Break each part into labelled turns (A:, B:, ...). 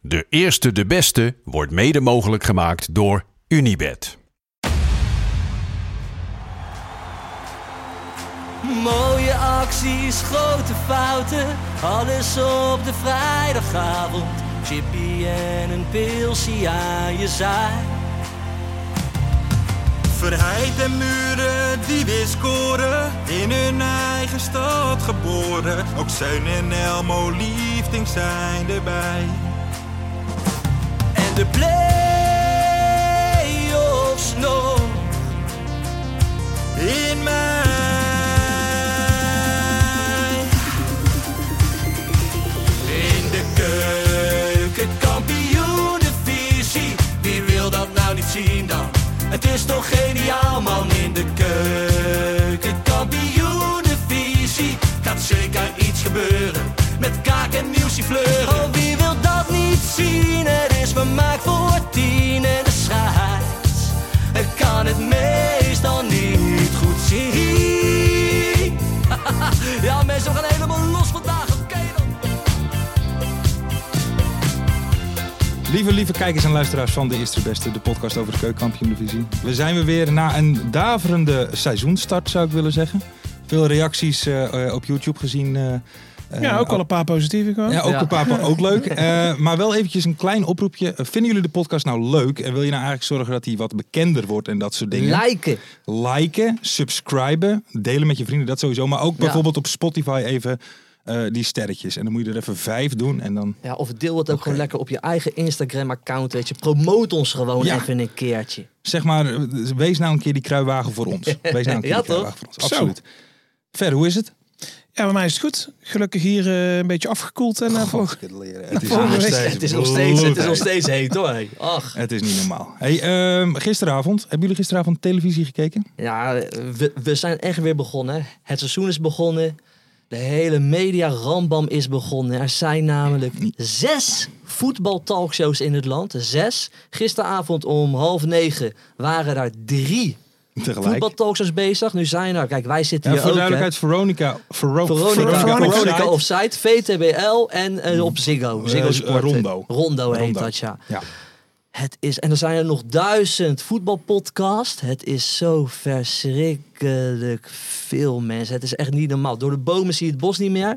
A: De eerste, de beste wordt mede mogelijk gemaakt door Unibed.
B: Mooie acties, grote fouten, alles op de vrijdagavond. Chippy en een pilsie aan je zaai.
C: Verheid en muren die weer scoren, in hun eigen stad geboren. Ook Zijn en Elmo liefding zijn erbij.
B: En de play-offs nog.
C: In mij.
B: In de keuken, Wie wil dat nou niet zien dan? Het is toch geniaal man in de keuken, Gaat zeker iets gebeuren met kaak en nieuwsie fleuren. Oh, wie wil dat niet zien? Het is vermaakt voor tien en de scheids. Ik kan het meestal niet goed zien. ja mensen, we gaan helemaal los vandaag, oké dan.
D: Lieve, lieve kijkers en luisteraars van de Eerste Beste, de podcast over de keukenkampioen-divisie. We zijn weer weer na een daverende seizoenstart, zou ik willen zeggen. Veel reacties eh, eh, op YouTube gezien. eh, eh,
E: Ja, ook al een paar positieve gehad.
D: Ja, ook
E: Ja.
D: een paar, pa- ook leuk. Eh, maar wel eventjes een klein oproepje. Eh, Vinden jullie de podcast nou leuk? En wil je nou eigenlijk zorgen dat hij wat bekender wordt en dat soort dingen?
F: Liken.
D: Liken, subscriben, delen met je vrienden, dat sowieso. Maar ook bijvoorbeeld op Spotify even eh, die sterretjes. En dan moet je er even vijf doen en dan...
F: Ja, of deel het ook gewoon lekker op je eigen Instagram-account, weet je. Promoot ons gewoon
D: Ja.
F: even een keertje.
D: zeg maar, eh, wees nou een keer die kruiwagen voor ons. Wees nou een keer die
F: Ja, toch?
D: kruiwagen voor ons.
E: Zo.
D: Absoluut. Ver, hoe is het?
E: Ja, bij mij is het goed. Gelukkig hier eh, een beetje afgekoeld. En, eh, voor-
D: het leren. Het is,
E: Volgende
D: nog
E: week.
D: steeds,
F: Het is nog steeds, het is nog
D: bloedheet.
F: steeds heet hoor. hé. Ach.
D: Het is niet normaal. Hey, ehm, gisteravond, hebben jullie gisteravond televisie gekeken?
F: Ja, we, we zijn echt weer begonnen. Het seizoen is begonnen. De hele media rambam is begonnen. Er zijn namelijk zes voetbaltalkshows in het land. Zes. Gisteravond om half negen waren er drie
D: Tegelijk.
F: voetbaltalkshows bezig. Nu zijn er, kijk wij zitten
D: Ja,
F: hier
D: voor
F: ook. hè.
D: duidelijkheid, Veronica, Vero-
F: Veronica,
E: Veronica.
F: Veronica
D: Offside.
F: Offside, VTBL en eh, op Ziggo.
D: Eh,
F: Ziggo
D: eh,
F: Sport.
D: Rondo.
F: Rondo heet
D: Rondo.
F: dat, ja.
D: Ja.
F: Het is, en er zijn er nog duizend voetbalpodcasts. Het is zo verschrikkelijk veel mensen. Het is echt niet normaal. Door de bomen zie je het bos niet meer.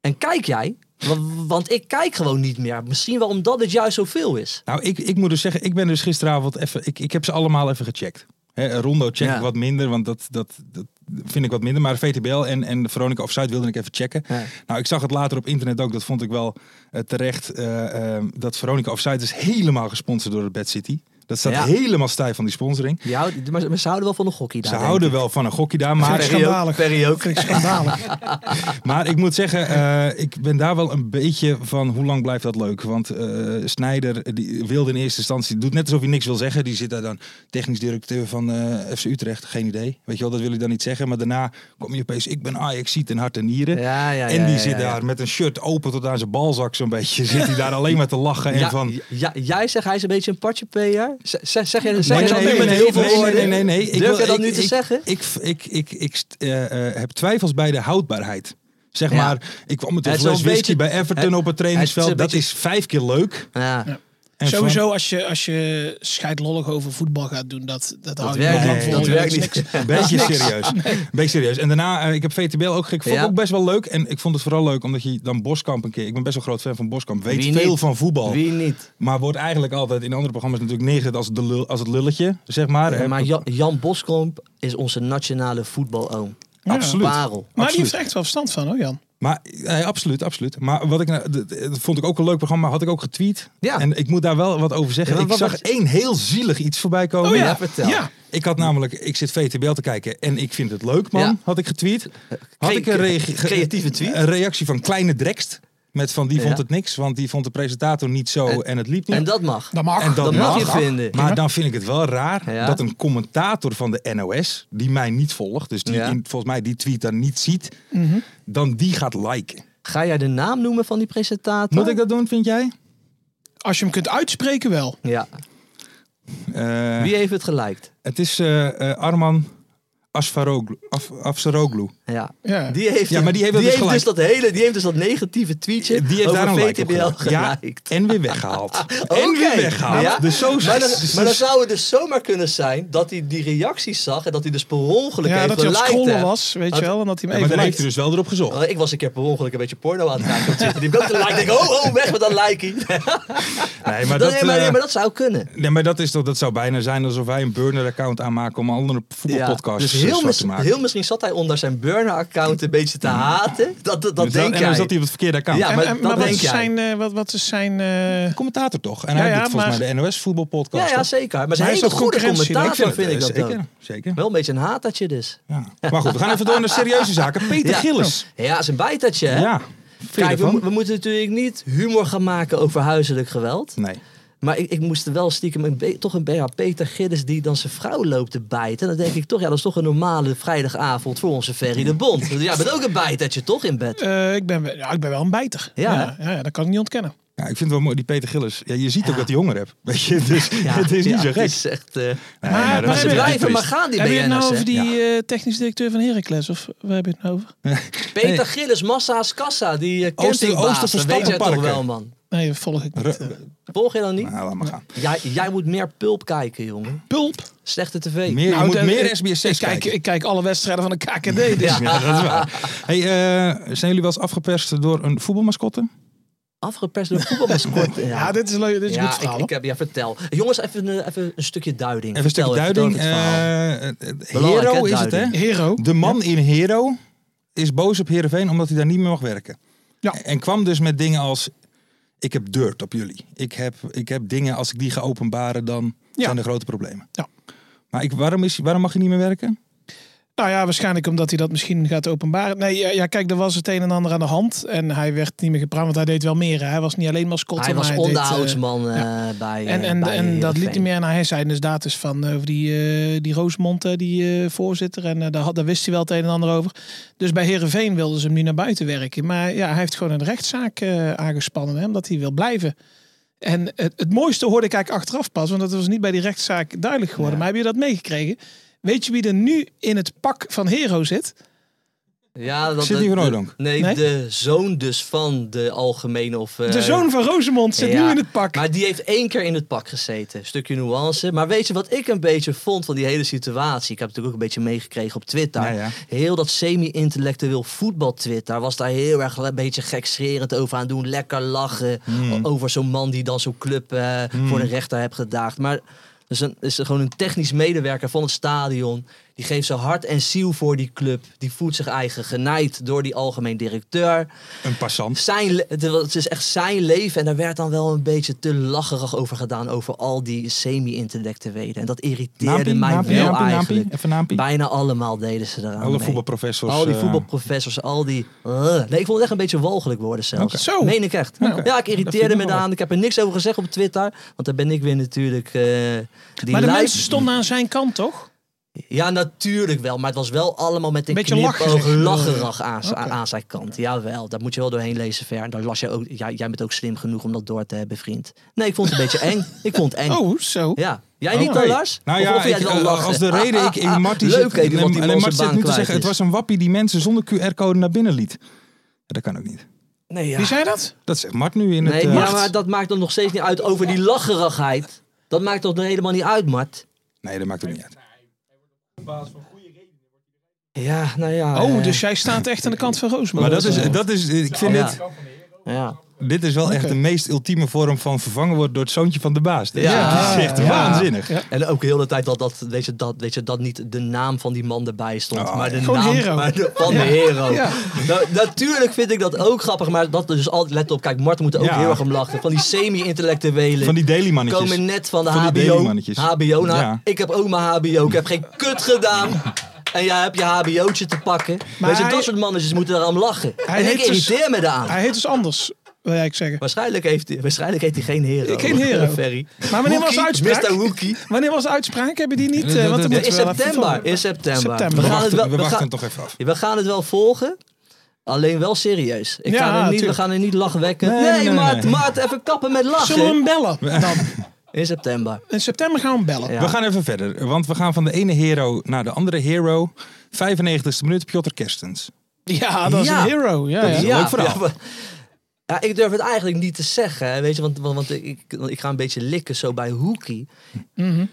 F: En kijk jij? Wa- Want ik kijk gewoon niet meer. Misschien wel omdat het juist zoveel is.
D: Nou, ik, ik moet dus zeggen, ik ben dus gisteravond even, ik, ik heb ze allemaal even gecheckt. Hè, Rondo check
F: Ja.
D: ik wat minder, want dat, dat, dat vind ik wat minder. Maar VTBL en, en Veronica Offside wilde ik even checken.
F: Ja.
D: Nou, ik zag het later op internet ook, dat vond ik wel eh, terecht. eh, ehm, dat Veronica Offside is helemaal gesponsord door de Bad City. Dat staat
F: Ja.
D: helemaal stijf van die sponsoring.
F: Ja, maar, maar ze houden wel van een gokkie daar.
D: Ze
F: denk
D: houden
F: ik.
D: wel van een gokje daar, maar,
E: Vind ik schandalig.
F: Perry ook.
E: Vind ik schandalig.
D: maar ik moet zeggen, eh, ik ben daar wel een beetje van hoe lang blijft dat leuk. Want eh Snijder die wilde in eerste instantie, doet net alsof hij niks wil zeggen. Die zit daar dan technisch directeur van eh, FC Utrecht, geen idee. Weet je wel, dat wil hij dan niet zeggen. Maar daarna kom je opeens, ik ben Ajax, ziet in hart en nieren.
F: Ja, ja, ja,
D: en die
F: ja,
D: zit
F: ja, ja.
D: daar met een shirt open tot aan zijn balzak zo'n beetje. Zit hij daar alleen maar te lachen en
F: Ja,
D: van...
F: ja, jij zegt hij is een beetje een partjepeer. Z- Zeg, zeg, je- zeg
D: Maar
F: je dat nu met
D: nee,
F: heel veel
D: nee, nee,
F: woorden?
D: nee, nee, nee. Ik
F: Durf
D: wil-
F: je dat
D: ik-
F: nu te
D: ik-
F: zeggen?
D: Ik, ik, ik, ik st- eh, eh, heb twijfels bij de houdbaarheid. Zeg
F: Ja.
D: maar, ik kwam met een
F: Het is wel
D: fles
F: een
D: whisky
F: beetje-
D: bij Everton
F: het-
D: op het trainingsveld.
F: het is een
D: dat is vijf keer leuk.
F: Ja.
D: En
E: Sowieso als je, als je scheidlollig over voetbal gaat doen, dat, dat, hou je
F: werkt
E: heel lang
D: niet.
E: vol.
D: Dat
F: werkt
E: is
F: niet.
E: niks.
D: Een beetje serieus. Een beetje serieus. En daarna, eh, ik heb VTBL ook gek. Vond ik
F: Ja.
D: ook best wel leuk. En ik vond het vooral leuk omdat je dan Boskamp een keer... Ik ben best wel groot fan van Boskamp. Weet
F: Wie
D: veel
F: niet?
D: van voetbal.
F: Wie niet?
D: Maar wordt eigenlijk altijd in andere programma's natuurlijk neergezet als, de lul, als het lulletje, zeg maar. Eh,
F: Ja,
D: Hè,
F: maar Jan, Jan Boskamp is onze nationale voetbaloom.
E: Ja.
D: Absoluut.
F: Parel.
E: Maar die
D: Absoluut.
E: heeft er echt wel verstand van hoor Jan.
D: Maar eh, absoluut, absoluut. Maar wat ik nou- d- d- dat vond ik ook een leuk programma, had ik ook getweet.
F: Ja.
D: En ik moet daar wel wat over zeggen.
F: Ja,
D: ik
F: wat- wat-
D: zag één heel zielig iets voorbij komen.
E: Oh ja.
F: Ja, vertel.
E: Ja.
D: Ik had namelijk, ik zit VTBL te kijken en ik vind het leuk, man.
F: Ja.
D: Had ik getweet. Had
F: Cre-
D: ik een reage- ge-
F: creatieve tweet.
D: Een reactie van Kleine Drekst. Met van die vond
F: Ja.
D: het niks, want die vond de presentator niet zo en, het liep niet.
F: En dat
D: Nou.
F: mag.
E: Dat mag.
D: En dat,
F: dat mag je vinden.
D: Maar dan vind ik het wel raar
F: Ja.
D: dat een commentator van de NOS, die mij niet volgt, dus die
F: Ja.
D: in- volgens mij die tweet dan niet ziet, dan die gaat liken.
F: Ga jij de naam noemen van die presentator?
D: Moet ik dat doen, vind jij?
E: Als je hem kunt uitspreken wel.
F: Ja.
D: Eh,
F: Wie heeft het geliked?
D: het is eh, eh, Arman Asfaroglu. Af, Afsaroglu.
F: Ja.
E: Ja.
F: Die heeft,
D: Ja, maar die heeft dat dus
F: dat hele, die heeft dus dat negatieve tweetje
D: Die heeft
F: over
D: daar een like op
F: VTBL
D: gedaan. Ja,
F: geliked.
D: en weer weggehaald. En
F: Oké.
D: weer weggehaald.
F: Ja.
D: Dus zo
F: Maar dan,
D: dus-
F: maar dan zou het dus zomaar kunnen zijn dat hij die reacties zag en dat hij dus per ongeluk
E: Ja,
F: heeft
E: dat hij aan het
F: geliked
E: scrollen
F: hebt.
E: was, weet
F: Dat-
E: je wel. En dat
D: Ja,
E: hij hem
D: maar
E: even
D: dan heeft hij dus
E: liked.
D: wel erop gezocht.
F: Oh, Ik was een keer per ongeluk een beetje porno aan het kijken op Twitter. Die heb ik ook gelijk. Denk, oh, oh, weg met dat likey.
D: Nee, maar
F: Dat-
D: dat,
F: nee, maar,
D: eh,
F: nee, maar dat zou kunnen.
D: Nee, maar dat, is toch, dat zou bijna zijn alsof wij een burner-account aanmaken om andere
F: Ja,
D: voetbalpodcasts
F: dus
D: eh,
F: heel,
D: zwart
F: mis-
D: te maken. Mm-hmm.
F: heel misschien zat hij onder zijn burner-account een beetje te haten. Dat, dat, dat
D: Dus
F: denk
D: en dan
F: jij.
D: zat hij op het verkeerde account.
F: Ja,
D: Ja,
E: En-
F: maar
E: en-
F: dat
E: maar wat
F: denk
E: is
F: jij.
E: zijn... eh, wat- Wat is zijn... eh,
D: commentator toch? En
E: Ja,
D: hij
E: ja,
D: doet volgens
E: maar-
D: mij de NOS voetbalpodcast.
F: Ja, ja,
D: toch?
F: zeker. Maar
D: Maar
F: zijn
D: hij
F: hele
D: is toch
F: goede
D: concurrentie? Nee,
F: commentator vind ik dat
D: het, eh,
F: dan.
D: Zeker, zeker.
F: Wel een beetje een hatertje dus.
D: Ja. Maar goed, we gaan even door naar serieuze zaken. Peter
F: Ja.
D: Gillis.
F: Ja, is een bijtertje, hè?
D: Ja, vind je
F: Kijk, we,
D: ervan?
F: mo- we moeten natuurlijk niet humor gaan maken over huiselijk geweld.
D: Nee.
F: Maar ik, ik moest er wel stiekem een be- toch een BH Peter Gillis die dan zijn vrouw loopt te bijten. Dan denk ik toch, ja, dat is toch een normale vrijdagavond voor onze Ferry de Bond. Dus Jij bent ook een bijtertje toch in bed?
E: eh, ik, ben, ja, ik ben wel een bijter.
F: Ja,
E: Ja, ja, dat kan ik niet ontkennen.
D: Ja, ik vind het wel mooi, die Peter Gillis. Ja, je ziet ook dat hij honger hebt. Weet je, dus het is niet
F: ja,
D: zo gek.
F: Het is echt, eh,
D: Nee, maar dat is
E: maar
F: ze
E: hebben-
D: een beetje
F: blijven maar
D: triest.
F: gaan, die
E: Heb je het nou
F: BN'ers.
E: over
F: hè?
E: die eh, technisch directeur van Heracles? Of waar heb je het nou over?
F: Peter Gillis, Massa's Kassa, die eh,
D: Ooster-
F: campingbaas.
D: Ooster
F: Dat weet jij toch
D: Verstappenparken.
F: wel, man.
E: Nee, dat volg ik niet.
D: Ru-
F: Volg je dan niet?
D: Nou, laat maar gaan.
F: Jij, jij moet meer pulp kijken, jongen.
E: Pulp. Nou,
F: Slechte tv.
D: Meer, je moet
E: de-
D: meer
E: ik-
D: SBS6
E: ik kijk,
D: kijken.
E: ik kijk alle wedstrijden van de KKD. Dus.
F: eh,
D: Ja, dat is waar. Hey, eh, zijn jullie wel eens afgeperst door een voetbalmascotte?
F: Afgeperst door voetbalmascotte. Ja,
E: Ja, dit is leuk. Dit is een
F: Ja,
E: goed verhaal.
F: ik, ik heb, ja, vertel. Jongens, even, een- even een stukje duiding.
D: Even een stukje
F: Vertel
D: duiding.
F: vertel het verhaal.
D: Eh, eh,
F: Belangrijk,
D: Hero is
F: hè,
D: het, hè?
F: duiding.
E: hoor. Hero.
D: De man in Hero is boos op Heerenveen omdat hij daar niet meer mag werken.
E: Ja.
D: En kwam dus met dingen als... Ik heb dirt op jullie. Ik heb, ik heb dingen, als ik die ga openbaren, dan
E: Ja.
D: zijn er grote problemen.
E: Ja.
D: Maar ik, waarom, is, waarom mag je niet meer werken?
E: Nou ja, waarschijnlijk omdat hij dat misschien gaat openbaren. Nee, ja, ja, kijk, er was het een en ander aan de hand. En hij werd niet meer gepraat, want hij deed wel meer. hè. Hij was niet alleen mascotte,
F: Hij
E: maar
F: was
E: deed,
F: onderhoudsman eh, bij
E: eh, en
F: eh,
E: en,
F: bij
E: en dat
F: Heerenveen.
E: liet hij meer. En hij zei dus dat is van eh, over die, eh, die Roosmond, eh, die eh, voorzitter. En eh, daar, had- daar wist hij wel het een en ander over. Dus bij Herenveen wilden ze hem nu naar buiten werken. Maar ja, hij heeft gewoon een rechtszaak eh, aangespannen, hè, omdat hij wil blijven. En het, het mooiste hoorde ik eigenlijk achteraf pas, want dat was niet bij die rechtszaak duidelijk geworden. Maar heb je dat meegekregen? Weet je wie er nu in het pak van Hero zit?
F: Ja, dat,
D: Zit niet
F: de-
D: van
F: de-
D: Oudonk?
F: Nee,
E: Nee?
F: de zoon dus van de algemene of... eh,
E: De zoon van Rosemond zit
F: ja.
E: nu in het pak.
F: Maar die heeft één keer in het pak gezeten. Stukje nuance. Maar weet je wat ik een beetje vond van die hele situatie? Ik heb het natuurlijk ook een beetje meegekregen op Twitter.
D: Nou ja.
F: Heel dat semi-intellectueel voetbal-Twitter was daar heel erg een beetje gekscherend over aan het doen. Lekker lachen
E: Hmm.
F: o- over zo'n man die dan zo'n club eh, voor de rechter hebt gedaagd. Maar dus een, is er gewoon een technisch medewerker van het stadion. Die geeft zijn hart en ziel voor die club. Die voedt zich eigen genijd door die algemeen directeur.
D: Een passant.
F: Zijn, le- het was- het is echt zijn leven en daar werd dan wel een beetje te lacherig over gedaan over al die semi-intellectuelen. En dat irriteerde
D: Naampie,
F: mij
D: naampie,
F: wel
D: naampie,
F: eigenlijk.
D: naampie. Even naampie.
F: Bijna allemaal deden ze eraan
D: Alle
F: mee.
D: voetbalprofessors.
F: Al die
D: eh,
F: voetbalprofessors, al die... Ugh. Nee, ik vond het echt een beetje walgelijk worden zelfs.
E: Oké. Zo.
F: Meen ik echt.
E: Nou,
F: Ja, ik
D: vind
F: irriteerde
D: ik
F: me
D: nog wel
F: aan. Ik heb er niks over gezegd op Twitter. Want daar ben ik weer natuurlijk eh, die
E: Maar de
F: lijp-
E: mensen stonden aan zijn kant, toch?
F: Ja, natuurlijk wel. Maar het was wel allemaal met een
E: Beetje
F: knipoog
E: lacherig.
F: lacherig aan,
E: Oké.
F: aan zijn kant. Jawel, daar moet je wel doorheen lezen ver. En dan las je ook... Ja, jij bent ook slim genoeg om dat door te hebben, vriend. Nee, ik vond het een beetje eng. Ik vond het eng.
E: Oh, zo.
F: Ja. Jij niet
D: Oké.
F: dan, Lars?
D: Nou
F: Of-
D: ja,
F: of jij
D: ik,
F: het wel
D: eh,
F: lachen?
D: als de reden, ik, ik Marty
F: Leuk,
D: zit,
F: hè, iemand die
D: alleen Marty
F: wel zijn
D: zit
F: baan
D: nu te
F: kwijt
D: zeggen, het
F: is.
D: was een wappie die mensen zonder QR-code naar binnen liet. Ja, Dat kan ook niet.
F: Nee, ja.
E: Wie zei dat?
D: Dat zegt Mart nu in het...
F: Nee,
D: eh,
F: ja, maar dat maakt dan nog steeds niet uit over die lacherigheid. Dat maakt toch nog helemaal niet uit, Mart?
D: nee, dat maakt ook niet uit.
F: Ja, nou ja.
E: Oh,
F: eh,
E: dus jij staat echt aan de kant van Roosmond.
D: Maar dat is, dat is, ik vind
F: Oh, Ja.
D: dit,
F: Ja.
D: dit is wel echt de meest ultieme vorm van vervangen worden door het zoontje van de baas. Dit is-
F: Ja.
D: dit is echt
F: Ja.
D: waanzinnig.
F: En ook heel de tijd dat, dat, weet je, dat, weet je, dat niet de naam van die man erbij stond.
D: Oh,
F: maar de
E: Gewoon
F: naam
E: Hero.
F: Maar de, van de hero.
E: Ja.
F: Nou, natuurlijk vind ik dat ook grappig. Maar dat dus altijd, let op, kijk, Mart moet er ook
D: Ja.
F: heel erg om lachen. Van die semi-intellectuelen.
D: Van die dailymannetjes.
F: komen net van de
D: Van die
F: HBO.
D: dailymannetjes.
F: HBO, nou,
D: Ja.
F: ik heb ook mijn HBO. Ik heb geen kut gedaan. En jij hebt je HBO'tje te pakken.
E: Maar
F: weet je,
E: hij-
F: dat soort mannetjes moeten daarom lachen.
E: Hij
F: en ik
E: heeft dus-
F: irriteer me daaraan.
E: Hij heet dus anders. wil jij ik zeggen.
F: Waarschijnlijk, heeft, hij- waarschijnlijk heet hij geen hero.
E: Geen hero.
F: Ferry.
E: Maar wanneer was de uitspraak?
F: Mr. Wookie.
E: Wanneer was de uitspraak? Hebben die niet? eh, want
D: dat
E: dan
F: In
E: moeten we wel even
F: september.
E: volgen.
F: In september.
E: September.
D: We
F: We gaan het
D: wachten,
F: wel,
D: we
F: nou, we
D: wachten
F: gaan,
D: het nog even af.
F: we gaan het wel volgen. Alleen wel serieus. Ik
E: Ja,
F: ga er niet, we
E: tuurlijk.
F: gaan er niet lachwekkend.
D: Nee,
F: Nee,
D: nee, nee,
F: Maart,
D: nee.
F: Maart, even kappen met lachen.
E: Zullen we hem bellen? Dan?
F: In september.
E: In september gaan we hem bellen.
F: Ja.
D: We gaan even verder, want we gaan van de ene hero naar de andere hero. 95ste minuut, Piotr Kerstens.
E: Ja, dat is
F: Ja.
E: een hero. Ja, ja.
D: is een leuk verhaal.
F: maar- Ja, ik durf het eigenlijk niet te zeggen, hè, weet je, want, want, want ik, want ik ga een beetje likken zo bij Hoekie.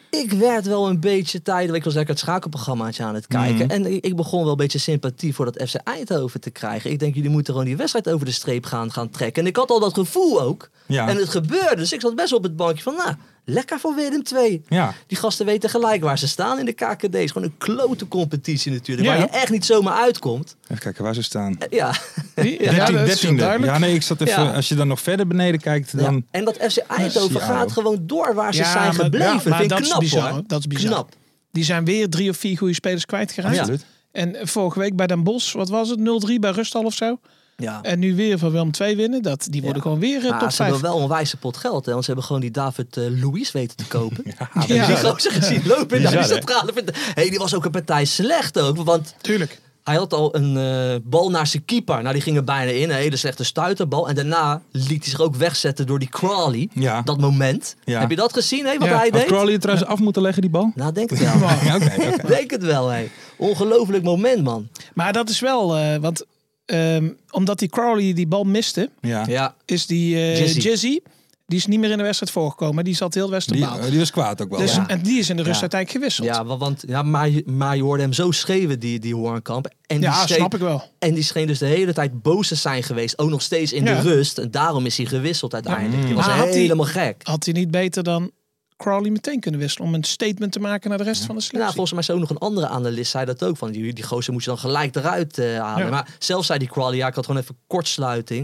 F: Ik werd wel een beetje tijdelijk, ik was lekker het schakelprogrammaatje aan het
D: Mhm.
F: kijken. En ik, ik begon wel een beetje sympathie voor dat FC Eindhoven te krijgen. Ik denk, jullie moeten gewoon die wedstrijd over de streep gaan, gaan trekken. En ik had al dat gevoel ook.
D: Ja.
F: En het gebeurde, dus ik zat best op het bankje van, nou, lekker voor Willem 2.
D: Ja.
F: Die gasten weten gelijk waar ze staan in de KKD. Het is gewoon een klote competitie natuurlijk,
E: Ja.
F: waar je echt niet zomaar uitkomt.
D: Even kijken waar ze staan.
F: Ja.
E: Die- ja,
D: 13,
E: dat is heel
D: 13e.
E: duidelijk.
D: Ja, nee, ik zat even.
F: Ja.
D: Als je dan nog verder beneden kijkt,
F: Ja,
D: dan.
F: En dat FC Eindhoven
D: Ja.
F: gaat gewoon door waar ze
E: Ja,
F: zijn
E: maar-
F: gebleven.
E: ja, maar
F: Vind ik
E: dat is
F: knap
E: bizar,
F: hoor.
E: hoor. Dat is bizar.
F: Knap.
E: Die zijn weer drie of vier goede spelers kwijtgeraakt.
D: Absoluut.
E: En vorige week bij Den Bosch, wat was het? 0-3 bij Rustal of zo.
F: Ja.
E: En nu weer van Willem 2 winnen. Dat, die worden
F: Ja.
E: gewoon weer eh,
F: Maar
E: top
F: ze
E: 5.
F: hebben wel een wijze pot geld. Hè, want ze hebben gewoon die David eh Louis weten te kopen.
D: Ah,
E: Ja.
F: Die gozer gezien lopen in
D: Bizar,
F: die
D: hè?
F: centrale. vert- hey, die was ook een partij slecht ook. Want
E: Tuurlijk.
F: hij had al een eh, bal naar zijn keeper. Nou, die ging er bijna in. Een hele slechte stuiterbal. En daarna liet hij zich ook wegzetten door die Crawley.
D: Ja.
F: Dat moment.
D: Ja.
F: Heb je dat gezien, hè, wat
E: Ja.
F: hij
D: Had
F: deed?
D: Crawley het trouwens af moeten leggen, die bal?
F: Nou, denk het wel.
D: Ja, oké. oké.
F: denk het wel, hé. Ongelooflijk moment, man.
E: Maar dat is wel, eh, want ehm, omdat die Crowley die bal miste,
D: Ja.
F: Ja.
E: is die eh,
F: Jizzy.
E: Jizzy, die is niet meer in de wedstrijd voorgekomen. Die zat heel
D: Die,
E: Westerbaal.
D: eh, die was kwaad ook wel.
E: dus,
D: hè?
E: En die is in de rust
F: Ja.
E: uiteindelijk gewisseld.
F: Ja, wa- want, ja maar, je- maar je hoorde hem zo schreeuwen, die, die Hoornkamp. En die
E: Ja,
F: schreef-
E: snap ik wel.
F: En die scheen dus de hele tijd boos te zijn geweest. Ook nog steeds in
E: Ja. Mm.
F: de rust. En daarom is hij gewisseld uiteindelijk. Die was
E: Maar had hij-
F: helemaal gek.
E: Had hij niet beter dan Crowley meteen kunnen wisselen om een statement te maken naar de rest van de
F: Nou,
E: selectie?
F: volgens mij zei ook nog een andere analist zei dat ook. Van die, die gozer moet je dan gelijk eruit eh, halen.
E: Ja.
F: Maar zelfs zei die Crawley, ja, ik had gewoon even kortsluiting.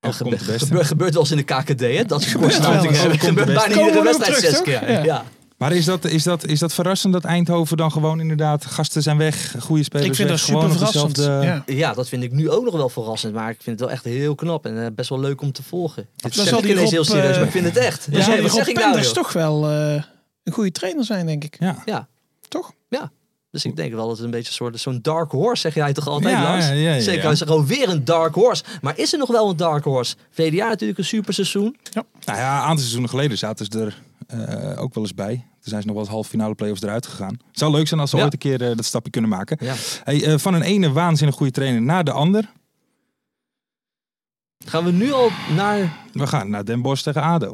F: En
D: Ook komt het beste.
F: gebe- gebeurt wel eens in de KKD, hè? Dat is kortsluiting.
E: wel
F: hebben.
E: eens.
D: Ook komt het
F: Gebeurt bijna
D: beste.
F: iedere
E: Komen we nog
F: wedstrijd
E: terug,
F: zes
E: toch?
F: keer.
E: Ja.
F: Ja.
D: Maar is dat, is, dat, is dat verrassend dat Eindhoven dan gewoon inderdaad gasten zijn weg, goede spelers
E: ik vind
D: weg,
E: dat super
D: gewoon op
E: verrassend.
D: dezelfde-
E: Ja.
F: Ja, dat vind ik nu ook nog wel verrassend. Maar ik vind het wel echt heel knap en eh, best wel leuk om te volgen. Dit
E: zal
F: zeg ik
E: die
F: ineens
E: Rob,
F: heel serieus,
E: eh,
F: maar ik vind het echt.
E: Ja,
F: Ja,
E: zou die
F: wat
E: Rob
F: zeg ik nou,
E: Penders
F: joh?
E: toch wel eh, een goede trainer zijn, denk ik.
D: Ja.
F: Ja,
E: Toch?
F: ja. Dus ik denk wel dat het een beetje een soort zo'n dark horse, zeg jij toch altijd,
D: Ja,
F: Lars?
D: ja, ja, ja,
F: Zeker,
D: ja.
F: is er gewoon weer een dark horse. Maar is er nog wel een dark horse? VDA natuurlijk een super seizoen.
D: Nou ja, een aantal seizoenen geleden zaten ze er eh, ook wel eens bij. Toen zijn ze nog wel eens halve finale play-offs eruit gegaan. Het zou leuk zijn als ze
F: Ja.
D: ooit een keer eh, dat stapje kunnen maken.
F: Ja.
D: Hey, eh, van een ene waanzinnig goede trainer naar de ander.
F: Gaan we nu al naar...
D: We gaan naar Den Bosch tegen ADO.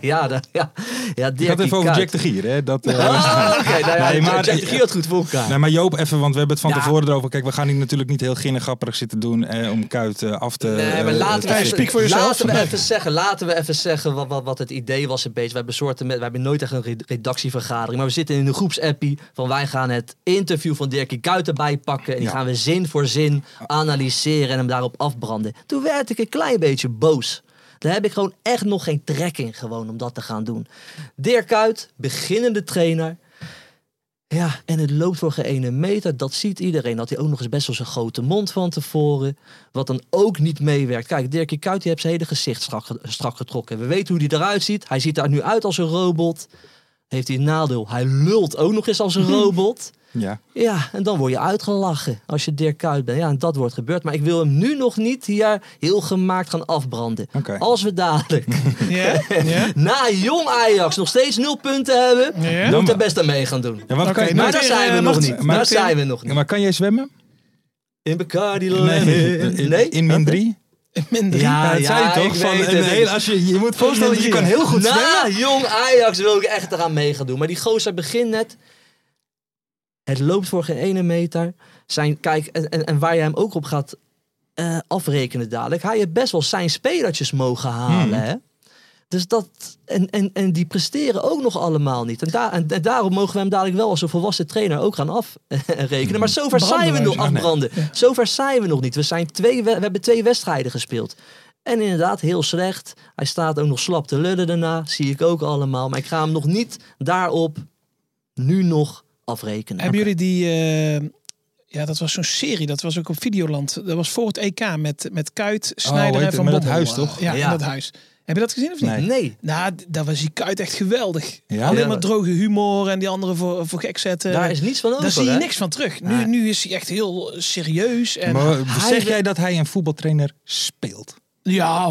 F: ja, dat, ja. ja Dirk
D: Ik had het even
F: die
D: over
F: kuit.
D: Jack de Gier. Hè? Dat, eh,
F: Ah, Oké, nou ja,
D: Nee, maar- Nou,
F: Jack de Gier had goed voor elkaar.
D: Nee, maar Joop, even, want we hebben het van
F: Ja.
D: tevoren erover. Kijk, we gaan hier natuurlijk niet heel ginnengapperig zitten doen eh, om Kuit eh, af te...
F: Nee, maar
D: eh,
F: laten we,
D: te-
E: Thijs,
F: even,
E: speak voor jezelf.
F: laten we even zeggen, laten we even zeggen wat, wat, wat het idee was een beetje. We hebben, soorten met, we hebben nooit echt een red- redactievergadering, maar we zitten in een groepsappie van wij gaan het interview van Dirkie Kuyt erbij pakken en die
D: Ja.
F: gaan we zin voor zin analyseren en hem daarop afbranden. Toen werd ik een klein beetje boos. Daar heb ik gewoon echt nog geen trek in gewoon om dat te gaan doen. Dirk Kuyt, beginnende trainer. Ja, en het loopt voor geen ene meter. Dat ziet iedereen. Had hij ook nog eens best wel zijn grote mond van tevoren. Wat dan ook niet meewerkt. Kijk, Dirkie Kuyt die heeft zijn hele gezicht strak, strak getrokken. We weten hoe hij eruit ziet. Hij ziet er nu uit als een robot. Heeft hij een nadeel. Hij lult ook nog eens als een robot.
D: Ja.
F: Ja, en dan word je uitgelachen als je Dirk Kuyt bent. Ja, en dat wordt gebeurd. Maar ik wil hem nu nog niet hier heel gemaakt gaan afbranden.
D: Oké.
F: Als we dadelijk
E: Ja? ja?
F: na jong Ajax nog steeds nul punten hebben...
E: Ja.
F: moet
D: Dan-
F: ik er best aan mee gaan doen.
D: Ja, want kan-
E: Oké, nou,
F: Maar daar
E: eh,
F: zijn we nog
E: wacht,
F: niet.
D: maar-
F: Daar zijn we nog niet.
D: Maar kan jij zwemmen?
F: In Bacardi Lemon. Nee?
D: In min 3?
E: Minder.
F: Ja,
D: dat zei je toch?
F: ik
D: Van
F: weet
D: een
F: het.
D: hele, als je, je moet voorstellen, je
F: Min
D: kan
F: drie.
D: heel goed
F: Na
D: zwemmen.
F: jong Ajax wil ik echt eraan mee gaan doen. Maar die gozer begint net. Het loopt voor geen ene meter. Zijn, kijk, en, en, en waar je hem ook op gaat eh, afrekenen dadelijk. Hij heeft best wel zijn spelertjes mogen halen.
D: Hmm.
F: Hè? Dus dat, en, en, en die presteren ook nog allemaal niet. En, daar en, en daarom mogen we hem dadelijk wel als een volwassen trainer ook gaan afrekenen. Maar zover zijn we nog
D: Ah, nee.
F: afbranden. Zover zijn we nog niet. We, zijn twee, we, we hebben twee wedstrijden gespeeld. En inderdaad, heel slecht. Hij staat ook nog slap te lullen daarna. Zie ik ook allemaal. Maar ik ga hem nog niet daarop nu nog afrekenen.
E: Hebben jullie die eh, Ja, dat was zo'n serie. Dat was ook op Videoland. Dat was voor het EK met, met Kuit,
D: Oh, hoe
E: Snijder
D: heet
E: en
D: het?
E: Van
D: Met dat
E: Bommel.
D: huis, toch?
E: Ja,
F: Ja.
E: in dat huis. Heb je dat gezien of niet?
D: Nee.
F: Nee.
E: Nou, d- daar was die Kuit echt geweldig.
D: Ja?
E: Alleen
F: Ja.
E: maar droge humor en die anderen voor, voor gek zetten.
F: Daar is niets van over.
E: Daar zie je
F: hè?
E: niks van terug. Nu, nu is hij echt heel serieus. En
D: Maar
E: hij-
D: zeg jij dat hij een voetbaltrainer speelt?
E: Ja, 100%.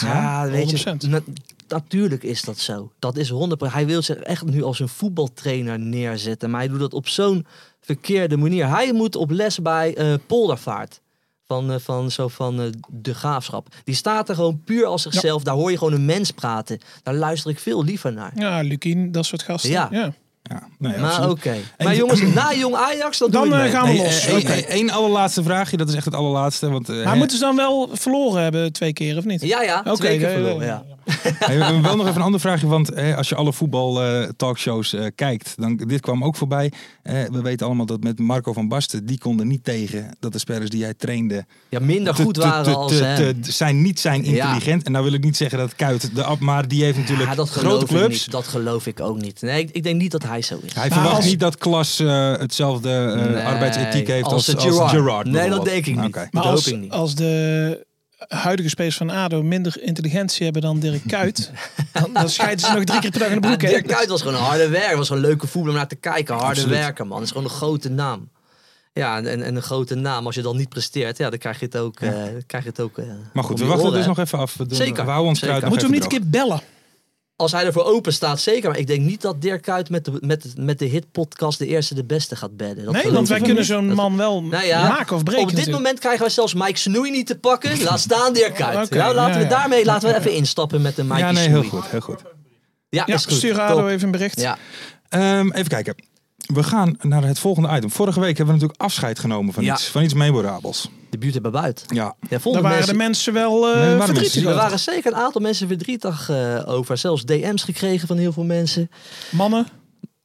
F: Ja, weet
E: 100%.
F: je, na- natuurlijk is dat zo. Dat is 100%. Hij wil zich echt nu als een voetbaltrainer neerzetten. Maar hij doet dat op zo'n verkeerde manier. Hij moet op les bij eh, Poldervaart. Van, eh, van, zo van eh, de graafschap. Die staat er gewoon puur als zichzelf. Daar hoor je gewoon een mens praten. Daar luister ik veel liever naar.
E: Ja, Lukien, dat soort gasten.
F: Ja.
E: Ja.
D: Ja, nee,
F: maar oké.
D: absoluut.
F: Maar
D: je-
F: jongens, na jong Ajax, dat
E: Dan
F: doe ik
E: eh,
F: mee.
E: gaan we
D: Nee,
E: los.
D: eh,
E: Oké.
D: één- één allerlaatste vraagje, dat is echt het allerlaatste. Want, eh,
E: Maar moeten ze dan wel verloren hebben twee keer of niet?
F: Ja, ja.
E: Oké,
F: twee keer
E: eh,
F: verloren, ja.
D: Hey, we hebben wel nog even een ander vraagje, want eh, als je alle voetbaltalkshows eh, kijkt, dan, dit kwam ook voorbij. Eh, we weten allemaal dat met Marco van Basten, die konden niet tegen dat de spelers die hij trainde
F: Ja, minder
D: te-
F: Nou, goed
D: te-
F: waren
D: te-
F: als
D: te-
F: hem.
D: te- zijn, niet zijn intelligent. En nou wil ik niet zeggen dat Kuit de ab, maar die heeft natuurlijk
F: Ja, dat
D: grote
F: geloof ik
D: clubs.
F: niet. Dat geloof ik ook niet. Nee, ik, ik denk niet dat hij zo is.
D: Hij verwacht
E: als-
D: niet dat Klas eh, hetzelfde eh,
F: Nee,
D: arbeidsethiek heeft
F: als
D: als,
F: de
D: als
F: Gerrard.
D: Gerard.
F: Nee,
D: bijvoorbeeld.
F: dat denk ik niet.
D: Oké.
E: Maar
F: Dat
E: als,
F: hoop ik niet.
E: als de huidige spelers van ADO minder intelligentie hebben dan Dirk Kuyt, dan, dan scheiden ze nog drie keer per dag in de
F: Ja,
E: broek. hè?
F: Dirk Kuyt was gewoon een harde werker. Was gewoon een leuke voetballer om naar te kijken. Harde
D: Absoluut.
F: werker, man. Dat is gewoon een grote naam. Ja, en, en- en een grote naam. Als je dan niet presteert, ja, dan krijg je het ook. eh, dan krijg je het ook eh,
D: Maar goed,
F: om
D: we
F: je
D: wachten
F: oren,
D: dus
F: hè.
D: nog even af. We doen-
F: Zeker,
D: We houden ons
F: zeker.
D: kruid nog
E: Moeten we hem niet
D: even
E: een keer bellen?
F: Als hij ervoor open staat, zeker. Maar ik denk niet dat Dirk Kuyt met de, met, met de hitpodcast de eerste de beste gaat bedden. Dat
E: Nee,
F: geloof
E: want
F: ik
E: wij
F: niet.
E: kunnen zo'n
F: Dat-
E: man wel
F: Nou ja,
E: maken of breken.
F: Op dit
E: natuurlijk.
F: moment krijgen wij zelfs Mike Snoei niet te pakken. Laat staan Dirk Kuyt.
E: Oké,
F: nou, laten
E: ja,
F: we
E: ja.
F: daarmee laten we even instappen met de Mike
D: door. Ja, nee, heel goed. Heel goed.
F: Ja,
E: Ja,
F: is goed.
E: stuur
F: Top.
E: ADO even een bericht.
F: Ja,
D: Ehm, even kijken. We gaan naar het volgende item. Vorige week hebben we natuurlijk afscheid genomen van
F: Ja.
D: iets, van iets memorabels.
F: de buurt hebben buiten.
D: Ja.
F: Ja,
E: Daar
F: vonden
E: waren
F: mensen,
E: de mensen wel eh,
D: Nee, waren
E: verdrietig
D: mensen-
F: er
E: over.
F: waren zeker een aantal mensen verdrietig eh, over. Zelfs DM's gekregen van heel veel mensen.
E: Mannen,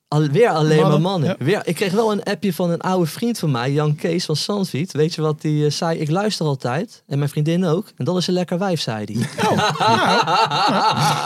F: Al, weer alleen
E: Mannen,
F: maar mannen.
E: ja.
F: Weer, ik kreeg wel een appje van een oude vriend van mij, Jan Kees van Sandviet. Weet je wat die eh, zei? Ik luister altijd. En mijn vriendin ook. En dat is een lekker wijf, zei hij.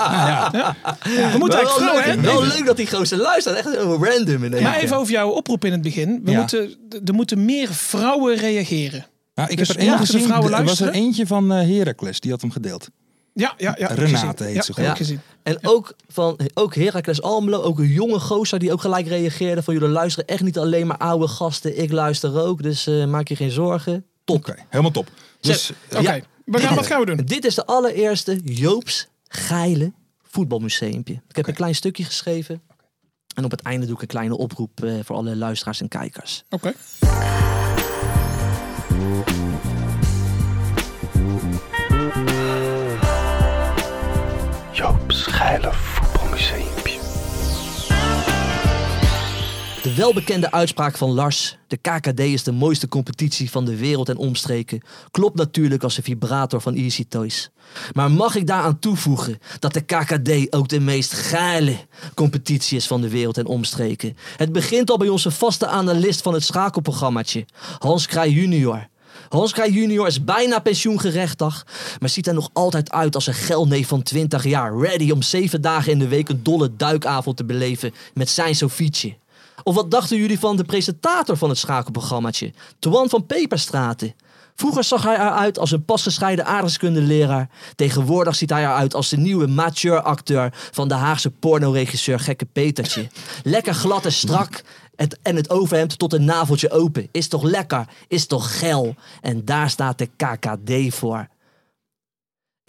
E: we moeten
F: wel, leuk,
E: eigenlijk vrouwen, hè?
F: wel leuk dat die gozer luistert. Echt heel random in één
E: Maar
F: keer.
E: even over jouw oproep in het begin. We
D: Ja.
E: moeten, d- er moeten meer vrouwen reageren.
D: Nou, ik
E: Dus
D: heb er één
E: mochten de
D: gezien.
E: vrouwen
D: Er was er
E: luisteren?
D: eentje van eh, Heracles, die had hem gedeeld.
E: Ja, ja, ja.
D: Renate
E: gezien.
D: heet
E: ja,
D: ze,
E: heb
D: geloof
E: ik
F: ik.
E: gezien.
F: En ook van ook Heracles Almelo, ook een jonge gozer die ook gelijk reageerde van jullie luisteren echt niet alleen maar oude gasten, ik luister ook, dus eh, maak je geen zorgen. Top.
D: Oké, helemaal top. Dus
E: Oké, we gaan, wat gaan we doen?
F: Dit is de allereerste Joops Geile voetbalmuseumpje. Ik heb een klein stukje geschreven en op het einde doe ik een kleine oproep eh, voor alle luisteraars en kijkers.
E: Oké.
G: Joop's geile voetbalmuseumpje.
F: De welbekende uitspraak van Lars, de KKD is de mooiste competitie van de wereld en omstreken, klopt natuurlijk als een vibrator van Easy Toys. Maar mag ik daaraan toevoegen dat de KKD ook de meest geile competitie is van de wereld en omstreken? Het begint al bij onze vaste analist van het schakelprogrammaatje, Hans Krij junior. Hans Krij junior is bijna pensioengerechtig, maar ziet er nog altijd uit als een gelneef van 20 jaar, ready om 7 dagen in de week een dolle duikavond te beleven met zijn Sofietje. Of wat dachten jullie van de presentator van het schakelprogrammaatje, Twan van Peperstraten? Vroeger zag hij eruit als een pasgescheiden aardrijkskundeleraar. Tegenwoordig ziet hij eruit als de nieuwe mature acteur van de Haagse pornoregisseur Gekke Petertje. Lekker glad en strak het, en het overhemd tot een naveltje open. Is toch lekker, is toch geil. En daar staat de KKD voor.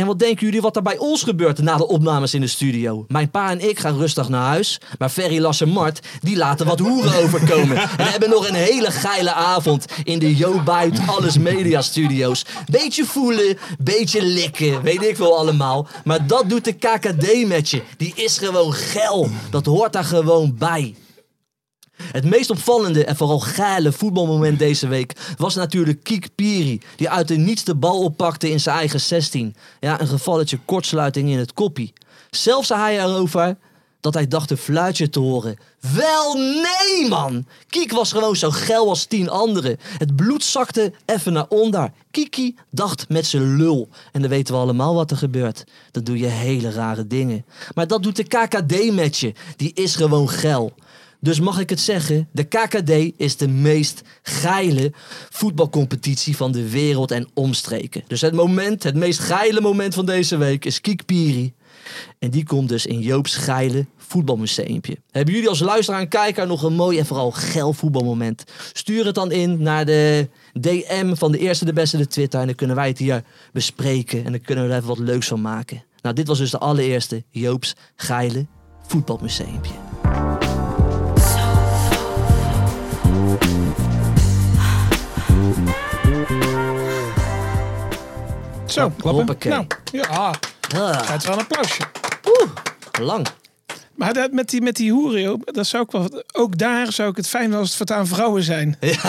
F: En wat denken jullie wat er bij ons gebeurt na de opnames in de studio? Mijn pa en ik gaan rustig naar huis, maar Ferry, Lars en Mart, die laten wat hoeren overkomen. En hebben nog een hele geile avond in de Jo Buit Alles Media Studios. Beetje voelen, beetje likken, weet ik wel allemaal. Maar dat doet de KKD met je. Die is gewoon geil. Dat hoort daar gewoon bij. Het meest opvallende en vooral geile voetbalmoment deze week was natuurlijk Kiek Piri, die uit de niets de bal oppakte in zijn eigen 16. Ja, een gevalletje kortsluiting in het koppie. Zelf zei hij erover dat hij dacht een fluitje te horen. Wel nee, man! Kiek was gewoon zo geil als tien anderen. Het bloed zakte even naar onder. Kiki dacht met zijn lul. En dan weten we allemaal wat er gebeurt. Dan doe je hele rare dingen. Maar dat doet de KKD met je. Die is gewoon geil. Dus mag ik het zeggen, de KKD is de meest geile voetbalcompetitie van de wereld en omstreken. Dus het moment, het meest geile moment van deze week is Kiekpiri. En die komt dus in Joop's geile voetbalmuseumpje. Hebben jullie als luisteraar en kijker nog een mooi en vooral geil voetbalmoment? Stuur het dan in naar de DM van de eerste, de beste, de Twitter. En dan kunnen wij het hier bespreken. En dan kunnen we er even wat leuks van maken. Nou, dit was dus de allereerste Joop's geile voetbalmuseumpje.
E: Zo,
F: Hoppakee.
E: Nou, ja,
F: Ah,
E: het is wel een applausje.
F: lang.
E: Maar dat, met die, met die hoeren, joh, dat zou ik wel, ook daar zou ik het fijn vinden als het voortaan vrouwen zijn.
F: Ja,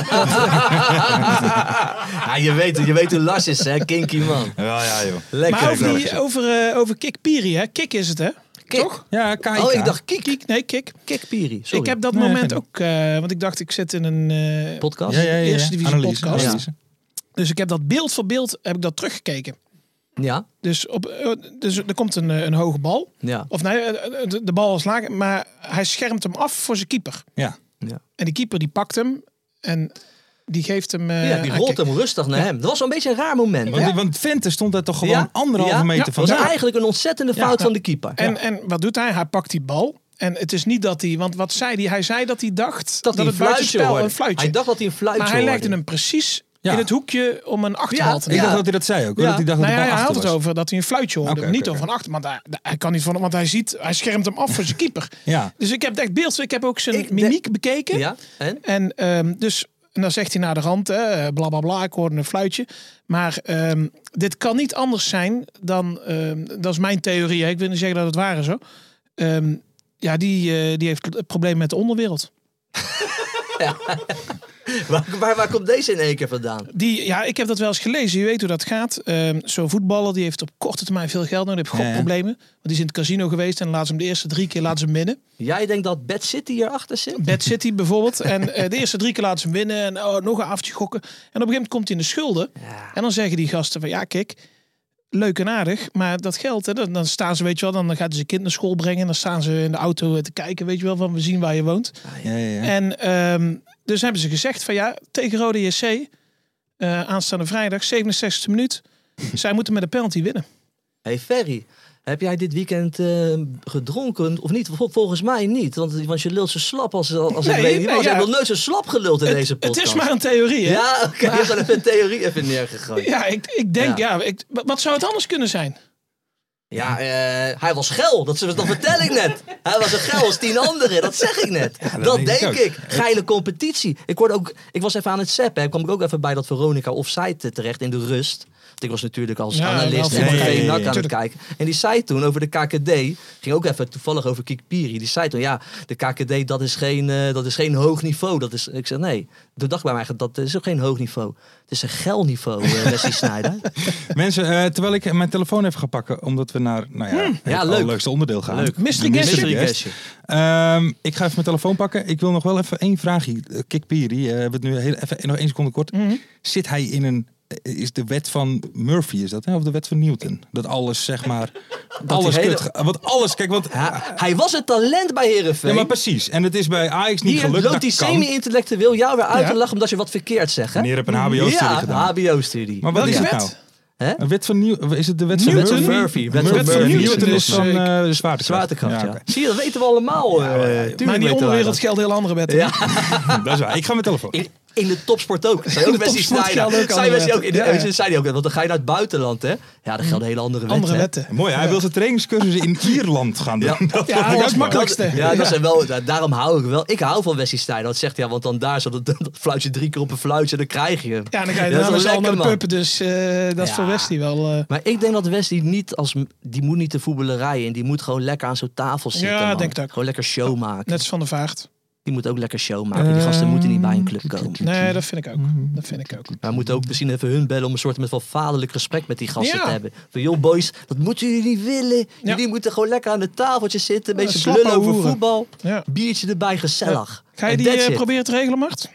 F: Nou, je weet, je weet hoe Lars is, hè? Kinky man.
D: Ja, ja, joh.
F: Lekker.
E: maar over, die, over, eh, over Kikpiri, hè? Kik is het, hè?
F: Kik.
E: Toch?
D: Ja, Kaika.
F: Oh, ik dacht kiek.
E: Kik, nee, Kik.
F: Kikpiri. Sorry.
E: Ik heb dat
D: Nee,
E: moment
D: geen-
E: ook, eh, want ik dacht ik zit in een eh,
F: podcast.
D: Ja, ja, ja. ja.
E: Eerste divisie
D: Analyse,
E: podcast.
D: analyse.
E: Dus ik heb dat beeld voor beeld heb ik dat teruggekeken.
F: Ja.
E: Dus, op, eh, dus er komt een, eh, een hoge bal.
F: Ja.
E: Of nee, eh, eh, de, de bal is laag, maar hij schermt hem af voor zijn keeper.
D: Ja.
F: Ja.
E: En die keeper die pakt hem en die geeft hem... eh,
F: Ja, die
E: aan
F: rolt
E: Kik.
F: hem rustig naar hem. Dat was wel een beetje een raar moment.
D: Want,
F: hè?
D: want Vente stond daar toch gewoon
F: Ja?
D: anderhalve
F: Ja?
D: meter
E: Ja,
D: van.
F: Dat was
D: vandaan.
F: eigenlijk een ontzettende fout van de keeper.
E: En, en wat doet hij? Hij pakt die bal. En het is niet dat hij... Want wat zei hij? Hij zei dat hij dacht dat,
F: dat hij een
E: het
F: fluitje
E: buitenspel
F: hoorde.
E: een fluitje.
F: Hij dacht dat hij een fluitje
E: maar hij legde
F: hoorde.
E: hem precies
D: Ja.
E: in het hoekje om een achterbal
F: Ja,
E: te
D: Ik
E: maken.
D: dacht dat hij dat zei ook. hoor.
F: Ja.
D: Dat hij dacht
E: Nou
D: dat
E: ja,
D: de
E: hij
D: bal
E: had
D: achter
E: het
D: was.
E: over dat hij een fluitje hoorde.
D: Oké,
E: maar niet
D: oké,
E: over een achter. Want hij, hij kan niet van want hij ziet, hij schermt hem af voor zijn keeper.
D: Ja.
E: Dus ik heb echt beeld. Ik heb ook zijn
F: Ik de-
E: mimiek bekeken.
F: Ja, en?
E: En ehm, dus, en dan zegt hij naar de rand, hè, bla bla bla, ik hoorde een fluitje. Maar ehm, dit kan niet anders zijn dan, ehm, dat is mijn theorie, hè. ik wil niet zeggen dat het waar is hoor. Ehm, ja, die, eh, die heeft het probleem met de onderwereld.
F: Waar, waar, waar komt deze in één keer vandaan?
E: Die, ja, ik heb dat wel eens gelezen. Je weet hoe dat gaat. Ehm, Zo'n voetballer die heeft op korte termijn veel geld nodig. Die heeft
D: Ja.
E: gokproblemen. Want die is in het casino geweest en laat ze hem de eerste drie keer laten ze hem winnen.
F: Jij denkt dat Bad City hierachter zit?
E: Bad City bijvoorbeeld. En eh, de eerste drie keer laten ze hem winnen. En oh, nog een avondje gokken. En op een gegeven moment komt hij in de schulden. En dan zeggen die gasten van ja, kijk. Leuk en aardig, maar dat geld, hè, dan, dan staan ze, weet je wel, dan gaat hij zijn kind naar school brengen. Dan staan ze in de auto eh, te kijken, weet je wel, van we zien waar je woont.
D: Ja, ja, ja.
E: En ehm, dus hebben ze gezegd van ja, tegen Rode JC, eh, aanstaande vrijdag, 67e minuut. zij moeten met een penalty winnen.
F: Hey Ferry, heb jij dit weekend eh, gedronken of niet? Vol- Volgens mij niet, want, want je lult zo slap als, als
E: Nee,
F: ik weet niet
E: nee,
F: was. Je
E: ja.
F: hebt nog nooit zo slap geluld in deze
E: Het
F: podcast.
E: is maar een theorie, hè?
F: Ja, oké, je hebt wel even een theorie even neergegooid. Ja,
E: Ja, ik, ik denk, ja, ik, wa- wat zou het anders kunnen zijn?
F: eh, hij was geil, dat, dat vertel ik net. Hij was een geil als tien anderen, dat zeg ik net. dat denk, ik, Geile competitie. Ik, hoorde ook, ik was even aan het zappen, hè, kwam ik ook even bij dat Veronica offside eh, terecht in de rust. Want ik was natuurlijk als
E: Ja,
F: analist
E: wel
F: en
D: voetbal-
F: TV
D: Ja, ja, ja,
F: NAC aan het
E: tuurlijk.
F: kijken. En die zei toen over de KKD, ging ook even toevallig over Kikpiri. Die zei toen, ja, de KKD dat is geen, eh, dat is geen hoog niveau. Dat is, ik zei, nee. Toen dacht ik bij mij, dat is ook geen hoog niveau. Het is een geil niveau, eh, Wesley Sneijder.
D: Mensen, eh, terwijl ik mijn telefoon even ga pakken, omdat we naar nou ja, het
F: Ja, leuk.
D: allerleukste onderdeel gaan.
F: Leuk.
E: Mystery
D: Mystery
E: guest.
F: Mystery
D: guest.
F: guestje.
D: Ehm, ik ga even mijn telefoon pakken. Ik wil nog wel even één vraagje. Eh, Kik Piri, eh, hebben we het nu heel, even, nog één seconde kort. Zit hij in een... eh, Is de wet van Murphy, is dat? Hè? Of de wet van Newton? Dat alles, zeg maar... alles
F: die hele-
D: kut... ge- Want alles, kijk, want...
F: Ja, hij was een talent bij Herenveen.
D: Ja, maar precies. En het is bij Ajax niet
F: Hier
D: gelukt.
F: loopt
D: dat
F: die
D: kan.
F: semi-intellectueel jou weer uit
E: Ja.
F: te lachen omdat je wat verkeerd zegt. Hè?
D: Meneer heeft een HBO-studie
F: ja,
D: gedaan.
F: HBO-studie.
D: Maar wat
E: Welke
D: is het
E: wet?
D: nou?
F: Hè?
D: Een wet van Nieuw... Is het de wet
E: Newton?
D: van Murphy?
F: Murphy. Wet
D: Murphy.
F: van
E: Wet van
F: Murphy.
D: Newton is
E: Dus,
D: van
E: eh,
D: eh, de zwaartekracht.
F: Zwaartekracht, ja.
D: oké.
F: Zie je, dat weten we allemaal. eh, tuurlijk
E: Maar in die
F: weten wij
E: onderwereld
F: dat.
E: gelden heel andere wetten.
F: Ja.
D: Hm, Dat is waar. Ik ga mijn telefoon.
F: In, in de topsport ook. Zijn ook
E: de
F: Wesley
E: topsport
F: Sneijder.
E: gelden ook
F: Zijn
E: andere
F: Wesley ook in de,
E: wetten. Ja, ja.
F: zei hij ook net, want dan ga je naar het buitenland, hè? Ja, dan gelden hele andere wetten.
E: Andere
F: hè.
E: wetten.
D: Mooi, hij wil zijn trainingscursussen in Ierland gaan doen.
F: Ja.
D: Dat
E: Ja,
D: vond ik ook
E: dat is
D: mooi.
E: makkelijk. makkelijkste.
F: Ja, dat
E: Ja.
F: zijn wel, da- daarom hou ik wel. Ik hou van Wesley Sneijder. Dat zegt ja, want dan daar zat het dat fluitje drie keer op een fluitje, dan krijg je hem.
E: Ja, dan ga je
F: Dat is
E: daarna
F: wel
E: met z'n allen
F: lekker,
E: naar de
F: man.
E: pub. Dus eh, dat is
F: Ja.
E: voor Westie wel... eh,
F: Maar ik denk dat Wesley niet als... Die moet niet de voetballerij in. Die moet gewoon lekker aan zo'n tafel zitten,
E: Ja,
F: man.
E: denk dat.
F: Gewoon lekker show maken.
E: net als Van de Vaart.
F: Die moet ook lekker show maken. Die gasten moeten niet bij een club komen.
E: Nee, dat vind ik ook.
F: Mhm.
E: Dat vind ik ook.
F: Maar we moeten ook misschien even hun bellen om een soort met van vaderlijk gesprek met die gasten
E: Ja.
F: te hebben. Van joh boys, dat moeten jullie niet willen.
E: Ja.
F: Jullie moeten gewoon lekker aan het tafeltje zitten. Een
E: Eh,
F: beetje
E: slappe
F: blullen over
E: hoeren.
F: voetbal.
E: Ja.
F: Biertje erbij, gezellig.
E: Ga je
F: En
E: die
F: that's
E: eh,
F: it.
E: proberen te regelen, Mart?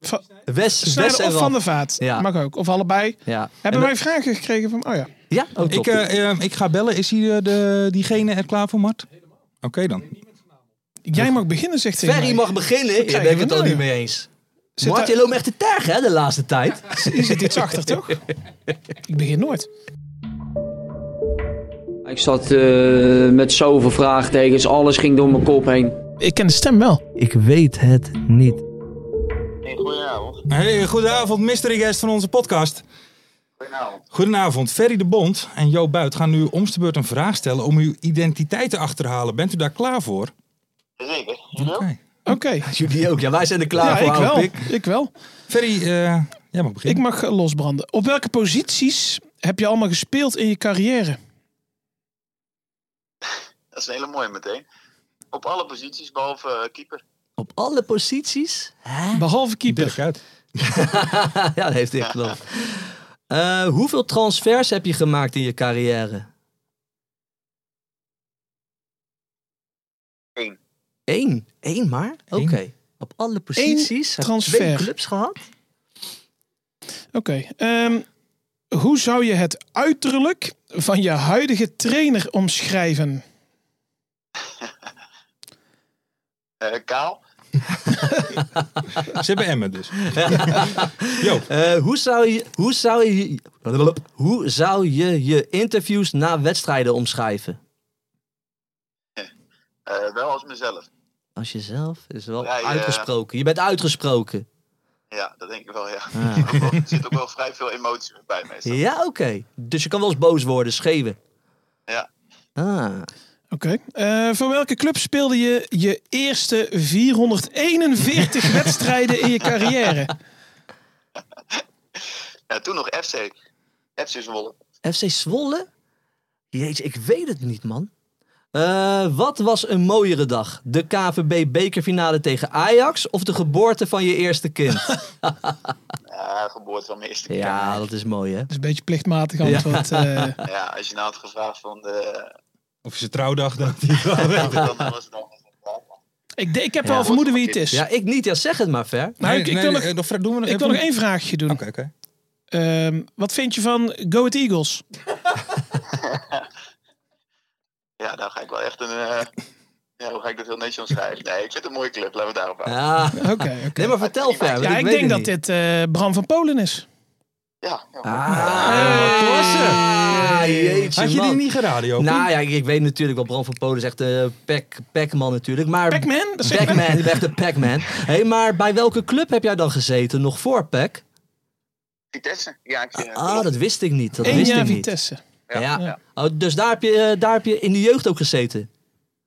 E: Va-
F: Wes, Wes
E: Sneijder
F: en
E: of Van
F: Van.
E: de Vaart.
F: Ja.
E: Mag ook. Of allebei.
F: Ja. En dat-
E: Hebben wij eh, vragen gekregen van... Oh ja.
F: Ja? Oh,
D: Ik,
F: top.
D: eh, eh, ik ga bellen. Is hier eh, de, diegene er klaar voor, Mart? Oké dan.
E: Jij mag beginnen, zegt hij.
F: Ferry mag beginnen. Ik
E: krijgen
F: ben ik
E: we
F: het al
E: nou,
F: niet
E: ja?
F: mee eens.
E: Zit
F: Martin
E: daar-
F: loopt me echt te tergen hè, de laatste tijd.
E: Je zit iets achter, toch? Ik begin nooit.
H: Ik zat eh, met zoveel vraagtekens, alles ging door mijn kop heen.
E: Ik ken de stem wel.
F: Ik weet het niet.
D: Hey, goedenavond, mystery guest van onze podcast. Goedenavond. Goedenavond. Ferry de Bond en Jo Buit gaan nu om de beurt een vraag stellen om uw identiteit te achterhalen. Bent u daar klaar voor? Zeker.
E: Oké.
F: Jullie ook. Hm. Ja, wij zijn er
E: Ja,
F: klaar voor.
E: ik
F: oude
E: wel.
F: pik.
E: Ik wel.
D: Ferry, eh jij mag
E: Ik
D: beginnen.
E: mag eh, losbranden. Op welke posities heb je allemaal gespeeld in je carrière?
I: Dat is een hele mooie meteen. Op alle posities, behalve eh, keeper.
F: Op alle posities. Hè?
E: Behalve keeper.
D: Dirk uit.
F: ja, dat heeft hij echt wel. Eh, hoeveel transfers heb je gemaakt in je carrière?
I: Eén.
F: Eén? Eén maar? Oké.
D: Eén.
F: Op alle posities. Heb je Twee
E: transfer.
F: clubs gehad?
E: Oké. ehm, hoe zou je het uiterlijk van je huidige trainer omschrijven?
I: Eh, kaal.
D: Ze hebben Emmen dus. Jo,
F: Eh, hoe, zou je, hoe, zou je, hoe zou je je interviews na wedstrijden omschrijven?
I: Eh, wel als mezelf.
F: Als jezelf is wel
I: Ja, ja.
F: uitgesproken. Je bent uitgesproken.
I: Ja, dat denk ik wel, ja.
F: Ah.
I: Ook wel- er zit ook wel vrij veel emotie bij meestal.
F: Ja, oké. Dus je kan wel eens boos worden, scheven.
I: Ja.
F: Ah.
E: Oké. Eh, voor welke club speelde je je eerste 441 wedstrijden in je carrière?
I: Ja, toen nog FC. FC Zwolle.
F: FC Zwolle? Jeetje, ik weet het niet, man. Eh, wat was een mooiere dag? De KVB bekerfinale tegen Ajax of de geboorte van je eerste kind?
I: Ja, geboorte van mijn eerste keer.
F: ja, dat is mooi, hè?
E: Dat is een beetje plichtmatig antwoord. eh.
I: Ja, als je nou had gevraagd van de...
D: of is het trouwdag? Dan had hij het wel weten.
I: Dan nou was het dan...
E: ik, de- ik heb
F: Ja.
E: wel vermoeden wie het is.
F: Ja, ik niet. Ja, zeg het maar, Ver.
E: Nou,
D: Nee,
E: ik, ik
D: nee,
E: wil nog,
D: eh, nog, doen we
E: ik wil nog één vraagje doen.
D: Oké, oké.
E: Ehm, wat vind je van Go It Eagles?
I: Ja, dan ga ik wel echt een... eh, Ja, hoe ga ik dat heel netjes omschrijven? Nee, ik vind het een mooie club. Laten we het daarop houden.
F: Ja.
E: Oké.
F: Nee, maar vertel, Ver. want
E: Ja, ik
F: weet
E: denk
F: het
E: dat
F: niet.
E: dit eh, Bram van Polen is.
I: Ja, ja.
F: Ah, klasse. Ah, jeetje,
D: Had je die
F: man.
D: niet geraden, Jo?
F: Nou ja, ik, ik weet natuurlijk wel, Bram van Polen is echt eh, Pac- Pac-Man natuurlijk. Maar
E: Pac-Man? Dat zeg ik
F: Pac-Man, ik ben echt een Pac-Man. hey, maar bij welke club heb jij dan gezeten nog voor Pac?
I: Vitesse. Ja, ik... eh,
F: Ah, dat wist ik niet. Dat
E: Eén
F: wist
E: jaar
F: ik niet.
E: Vitesse.
F: Ja. Oh, dus daar heb, je, eh, daar heb je in de jeugd ook gezeten?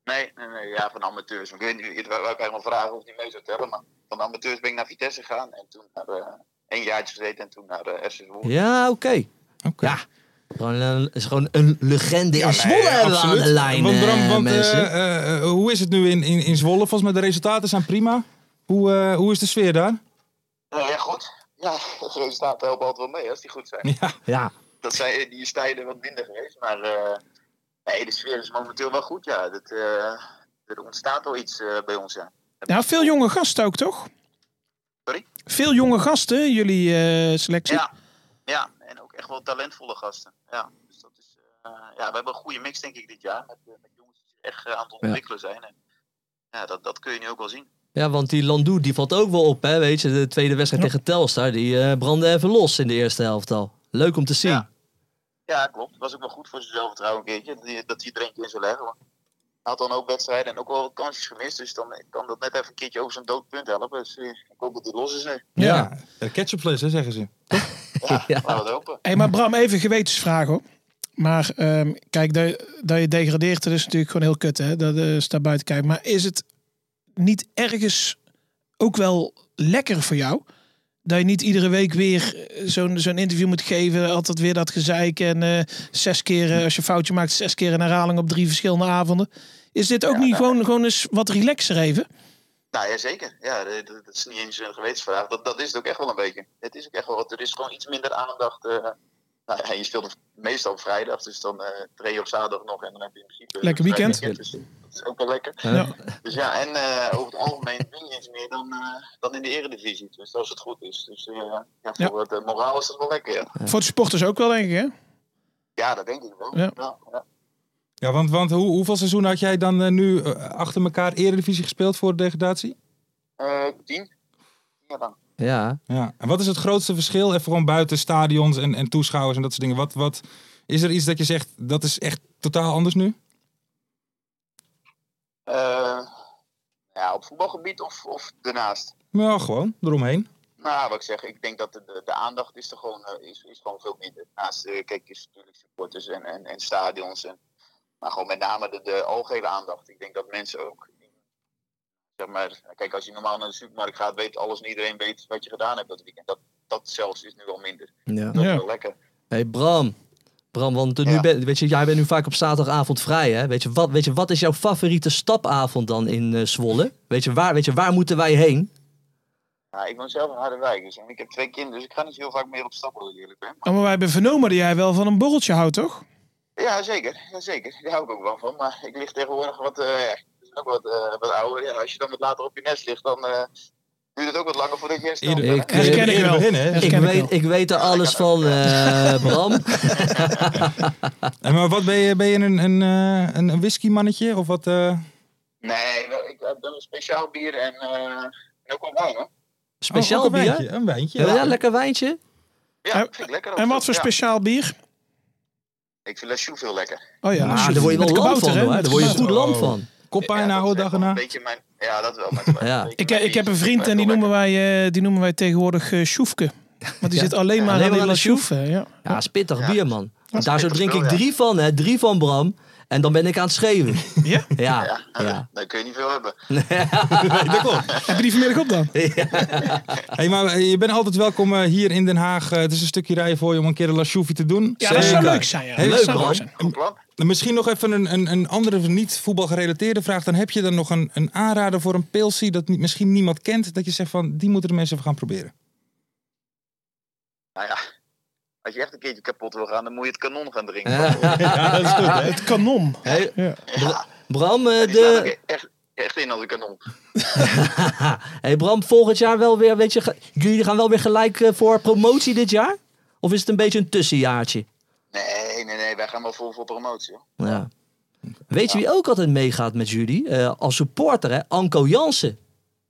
I: Nee, nee, nee, ja, van amateurs. Ik weet niet, waar ik eigenlijk vragen of die mee zou tellen, maar van amateurs ben ik naar Vitesse gegaan en toen naar eh een jaartje gezeten en toen naar eh FC Zwolle.
F: Ja, oké.
D: Oké.
F: Ja. Gewoon, een- is gewoon een legende in Zwolle
D: Nee,
F: hebben we aan de
D: absoluut.
F: lijn,
D: Want, Bram,
F: eh,
D: want, eh,
F: mensen.
D: eh, eh, hoe is het nu in, in, in Zwolle? Volgens mij de resultaten zijn prima. Hoe, eh, hoe is de sfeer daar?
I: Eh, ja, goed. Ja, de resultaten helpen altijd wel mee als die goed zijn.
F: ja.
I: Dat zijn die stijden wat minder geweest, maar eh, nee, de sfeer is momenteel wel goed, ja. Dat, eh, er ontstaat wel iets eh, bij ons, ja.
E: Ja, Nou, veel jonge gasten ook, toch?
I: Sorry?
E: Veel jonge gasten, jullie eh, selectie.
I: Ja, ja, en ook echt wel talentvolle gasten. Ja, dus dat is, eh, ja we hebben een goede mix, denk ik, dit jaar. Met, eh, met jongens die echt eh, aan het ontwikkelen zijn. En, ja, dat, dat kun je nu ook wel zien.
F: ja, want die Landoe die valt ook wel op, hè? Weet je, de tweede wedstrijd tegen Telstar, die eh brandde even los in de eerste helft al. Leuk om te zien.
I: Ja. Ja, klopt. Was ook wel goed voor zijn zelfvertrouwen een keertje. Dat hij- Dat hij er een keer in zou leggen. Maar hij had dan ook wedstrijden en ook wel wat kansjes gemist. Dus dan kan dat net even een keertje over zijn doodpunt helpen. Dus eh, ik hoop dat hij los is nu.
D: Ja, ja. ketchupfles, hè, zeggen ze.
I: Ja, laten we het hopen.
E: Hey, maar Bram, even gewetensvraag hoor. Maar ehm, kijk, dat, dat je degradeert, dat is natuurlijk gewoon heel kut, hè? Dat eh, staat buiten kijken. Maar is het niet ergens ook wel lekker voor jou? Dat je niet iedere week weer eh, zo'n zo'n interview moet geven. Altijd weer dat gezeik. En eh, zes keer, eh, als je een foutje maakt, zes keer een herhaling op drie verschillende avonden. Is dit ook niet gewoon, gewoon eens wat relaxer even?
I: Nou ja, zeker. Ja, dat, dat- dat is niet eens een gewetensvraag. Dat, dat is het ook echt wel een beetje. Het is ook echt wel wat. Er is gewoon iets minder aandacht. eh. nou ja, je speelt meestal op vrijdag. Dus dan eh train je op zaterdag nog. En dan heb je in principe... een
E: Lekker
I: vrij
E: weekend.
I: Dus dat is ook wel lekker.
E: Ja.
I: Dus ja, en eh, over het algemeen doe je iets meer dan, eh, dan in de eredivisie. Dus als het goed is. Dus eh, ja, voor het eh, moraal is dat wel lekker, ja.
E: Voor de sporters ook wel, denk ik, hè?
I: Ja, dat denk ik wel.
E: Ja.
I: Ja, ja.
D: Ja, want, want hoe, hoeveel seizoenen had jij dan eh, nu eh, achter elkaar Eredivisie gespeeld voor de degradatie?
I: Eh, tien? Ja, dan.
F: Ja.
D: Ja. En wat is het grootste verschil? Even gewoon buiten stadions en, en toeschouwers en dat soort dingen. Wat, wat, is er iets dat je zegt, dat is echt totaal anders nu?
I: Eh, ja, op voetbalgebied of, of daarnaast?
D: Nou, gewoon, eromheen.
I: Nou, wat ik zeg, ik denk dat de, de, de aandacht is er gewoon, eh, is, is gewoon veel minder. Naast, eh, kijk, is natuurlijk supporters en, en, en stadions. En, maar gewoon met name de, de algehele aandacht. Ik denk dat mensen ook, zeg maar, kijk, als je normaal naar de supermarkt gaat, weet alles en iedereen weet wat je gedaan hebt dat weekend. Dat, dat zelfs is nu al minder.
F: ja.
I: Dat
E: Ja.
I: is wel lekker.
F: hey, Bram. Bram, want nu
I: Ja.
F: ben, weet je, jij bent nu vaak op zaterdagavond vrij, hè? Weet je, wat, weet je, wat is jouw favoriete stapavond dan in eh, Zwolle? Weet je, waar, weet je, waar moeten wij heen?
I: Nou, ik woon zelf in Harderwijk, dus en ik heb twee kinderen, dus ik ga niet zo heel vaak meer op stap, als ik eerlijk ben.
E: Oh, maar wij hebben vernomen dat jij wel van een borreltje houdt, toch?
I: Ja, zeker. Ja, zeker. Daar hou ik ook wel van. Maar ik lig tegenwoordig wat, eh, ja, ik ben ook wat, eh, wat ouder. Ja, als je dan wat later op je nest ligt, dan eh, duurt het ook wat langer voordat je herstelt.
D: Ieder-
F: Ik,
E: Dat
F: eh,
E: ken ik
D: eerder
E: wel.
D: beginnen, hè?
E: Dat
F: Ik
E: ken ik
F: weet,
E: wel. Oh,
F: ik weet er alles van, eh, Bram.
D: En maar wat ben je, ben je een, een, eh, een, een whiskymannetje? Of wat? eh?
I: Nee, wel, ik heb dan een speciaal bier en, eh, en ook wel wijn, hoor.
F: Speciaal
D: Oh, ook een
F: bier.
D: wijntje, Een wijntje.
F: Ja, lekker wijntje.
I: Ja,
E: En-
I: vind ik lekker. ook
E: En
I: zo.
E: wat voor
I: Ja.
E: speciaal bier?
I: Ik vind Lachoux veel lekker.
E: Oh ja,
F: Ah, daar word je wel lam van, hoor. Daar word je goed lam
D: Oh.
F: van.
D: Koppijn
I: ja, dat
D: houden
I: is echt
D: dag
I: wel
D: erna.
I: Een beetje mijn... Ja, dat wel. Maar het is wel
F: Ja.
I: een beetje
E: Ik, eh,
I: mijn
E: ik heb een
I: biertje.
E: vriend en die
I: Wel
E: noemen wij, eh, die noemen wij tegenwoordig eh Sjoefke. Want
F: Ja.
E: die zit alleen maar
F: alleen
E: aan
F: maar
E: de
F: aan de
E: Sjoefke. Ja.
F: Ja, spittig
I: Ja.
F: bier, man. Daar zo
I: spittig
F: drink ik
I: spul, ja.
F: drie van, hè. Drie van Bram. En dan ben ik aan het schreeuwen.
E: Ja? Hm.
F: Ja,
I: lekker.
F: ja.
I: Daar kun je niet veel hebben.
E: Heb je die vanmiddag op dan?
D: Hey, maar je bent altijd welkom eh, hier in Den Haag. Eh, het is een stukje rijden voor je om een keer een lasjoefie te doen.
E: Ja, dat zou
D: Zeker.
E: leuk zijn. Ja.
D: Heel
E: Dat zou
F: leuk,
E: leuk
F: hoor.
E: zijn.
I: Goed plan.
D: Misschien nog even een, een, een andere niet voetbal gerelateerde vraag. Dan heb je dan nog een, een aanrader voor een pilsie dat niet- misschien niemand kent. Dat je zegt van, die moeten de mensen even gaan proberen.
I: Nou ja, als je echt een keertje kapot wil gaan, dan moet je het kanon gaan drinken.
D: Ja, dat is goed hè.
E: Het kanon.
F: Hey,
E: Ja.
F: Bra- Bram, eh,
I: Die staat
F: de...
I: ook echt, echt in als een kanon.
F: hey, Bram, volgend jaar wel weer, weet je... ge- Jullie gaan wel weer gelijk eh, voor promotie dit jaar? Of is het een beetje een tussenjaartje?
I: Nee, nee, nee. Wij gaan wel vol voor promotie. hoor.
F: Ja. Weet je wie ook altijd meegaat met jullie? Eh, als supporter, hè? Anko Jansen.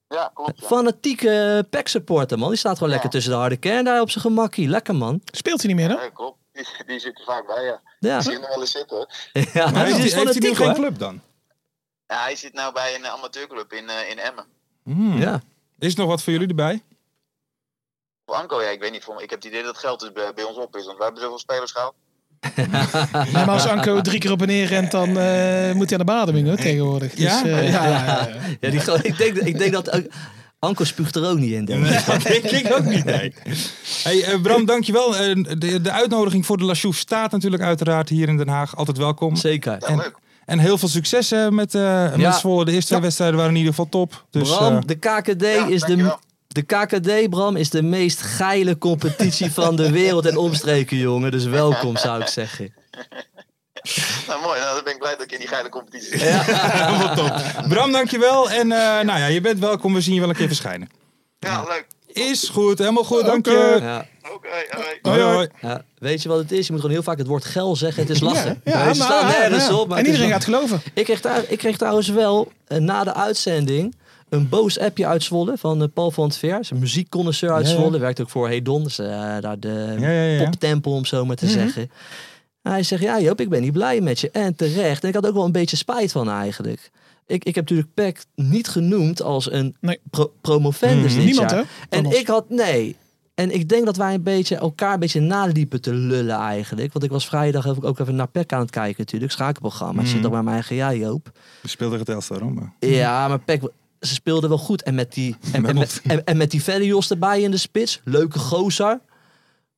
I: Ja, klopt. Ja.
F: Fanatieke pack supporter, man. Die staat gewoon lekker tussen de harde kern daar op zijn gemakkie. Lekker, man.
E: Speelt hij niet meer, hè?
I: Ja, klopt. Die, die zit er vaak bij, ja.
F: Ja,
I: Die zie je nog wel eens zitten, hoor.
F: ja
D: Maar
F: die
D: heeft,
F: Ah, is dus
D: hij- heeft hij nu
F: fanatiek,
D: geen
F: hoor.
D: club dan?
I: Ja, hij zit nou bij een eh, amateurclub in, eh, in Emmen.
D: Hmm.
F: Ja.
D: Is er nog wat voor jullie erbij?
I: Voor Anko, ja, ik weet niet. Voor, ik heb het idee dat het geld dus bij, bij ons op is. Want wij hebben zoveel spelers gehad.
E: Ja, maar als Anko drie keer op en neer rent, dan eh, moet hij aan de bademing hoor, tegenwoordig. Dus,
D: Ja?
E: eh, ja, ja, ja.
F: Ja, die, gro- ik, denk, ik denk dat... ook- Anko spuugt er ook niet in, denk ik.
D: dat denk ik ook niet. Nee. Hey, eh, Bram, dankjewel. Eh, de, de uitnodiging voor de Lachouf staat natuurlijk uiteraard hier in Den Haag. Altijd welkom.
F: Zeker.
I: Ja,
D: En-
I: leuk.
D: En heel veel succes eh, met, eh
F: Ja.
D: met Zwolle. De eerste twee
F: Ja.
D: wedstrijden waren in ieder geval top. Dus,
F: Bram,
D: eh,
F: de KKD
I: Ja,
F: is de...
I: dankjewel.
F: De KKD, Bram, is de meest geile competitie van de wereld en omstreken, jongen. Dus welkom, zou ik zeggen.
I: Nou, mooi. Nou, dan ben ik blij dat ik in die geile competitie zit.
D: eh, Bram, dankjewel. En eh, nou ja, je bent welkom. We zien je wel een keer verschijnen.
I: Ja, leuk.
D: Is goed, helemaal goed. Dank je.
F: Ja.
I: Oké, hoi.
D: Hoi, hoi.
F: Ja, weet je wat het is? Je moet gewoon heel vaak het woord geil zeggen. Het is lachen.
E: Ja,
F: Wij
E: maar-
F: staan
E: ja,
F: nergens
E: ja.
F: op. Maar
E: en
F: het is
E: iedereen
F: wel-
E: gaat geloven.
F: ik, kreeg daar, ik kreeg trouwens wel eh, na de uitzending een boos appje uit Zwolle van eh, Paul van het Veer. Hij is Een muziekconnoisseur uit
D: Ja, ja.
F: Zwolle. Werkt ook voor Hedon. Dus eh, daar de
D: Ja, ja, ja.
F: poptempel, om zo maar te zeggen. Hij zegt, ja Joop, ik ben niet blij met je. En terecht. En ik had ook wel een beetje spijt van eigenlijk. Ik, ik heb natuurlijk PEC niet genoemd als een
E: Nee.
F: pro- promovendus dit
E: Niemand,
F: jaar.
E: hè?
F: En
E: Van ons.
F: ik had, nee. En ik denk dat wij een beetje elkaar een beetje naliepen te lullen eigenlijk. Want ik was vrijdag even- ook even naar PEC aan het kijken natuurlijk. Schakelprogramma. Ik zit ook bij mijn eigen, ja Joop.
D: We speelden het Elstar, hoor, maar-
E: Mhm.
F: Ja, maar PEC, ze speelden wel goed. En met die, en, en, met,
D: Memmelt.
F: en, en met die Velios erbij in de spits. Leuke gozer.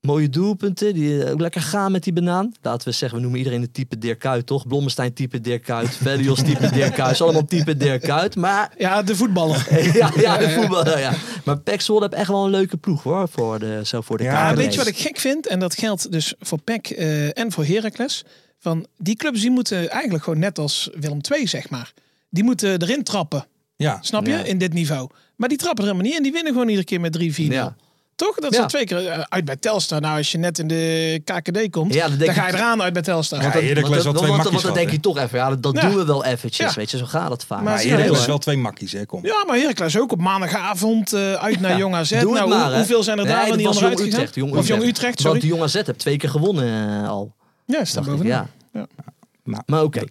F: Mooie doelpunten. Die eh, ook lekker gaan met die banaan. Laten we zeggen, we noemen iedereen de type Dirk Kuyt, toch? Blommestein type Dirk Kuyt. Velios type Dirk Kuyt. is Allemaal type Dirk Kuyt. Maar
E: Ja, de voetballer.
F: ja, ja, de voetballer, ja. Maar PEC Zwolle heeft echt wel een leuke ploeg hoor, voor de, zo voor de
D: Ja,
E: Ja,
F: KKD.
E: weet je wat ik gek vind? En dat geldt dus voor PEC eh, en voor Heracles. Van die clubs die moeten eigenlijk gewoon net als Willem II, zeg maar. Die moeten erin trappen,
D: Ja.
E: snap je?
F: Ja.
E: In dit niveau. Maar die trappen er helemaal niet in. Die winnen gewoon iedere keer met 3-4.
F: Ja.
E: Toch? Dat
F: Ja.
E: zijn twee keer eh, uit bij Telstar. Nou, als je net in de KKD komt,
F: Ja, dan
E: dan,
F: denk ik-
E: ga je eraan uit bij Telstar.
D: Ja,
E: Want dat-
D: Heracles
F: want,
D: wel
F: dat-
D: twee
F: want,
D: makkies
F: want dan
D: gehad,
F: denk
D: hè?
F: je toch even, ja, dat, dat
E: Ja.
F: doen we wel eventjes.
E: Ja.
F: Weet je, zo gaat het vaak.
E: Maar
D: Maar
E: ze
D: Erik
E: heel,
D: is
E: hè?
D: wel twee makkies, hè? Kom.
E: ja, maar Heracles ook op maandagavond eh, uit naar Jong AZ.
F: Doe het
E: nou,
F: maar,
E: hoe-
F: hè.
E: hoeveel zijn er daar
F: nee,
E: dan
F: dat
E: niet
F: was
E: onderuit
F: Jong
E: gegaan?
F: Utrecht, Jong
E: of Jong Utrecht, sorry.
F: Want Jong AZ heeft twee keer gewonnen eh, al.
E: ja, staat
F: Dacht ik,
E: bovenaan.
F: ja.
E: Ja.
D: Nou,
F: Maar oké.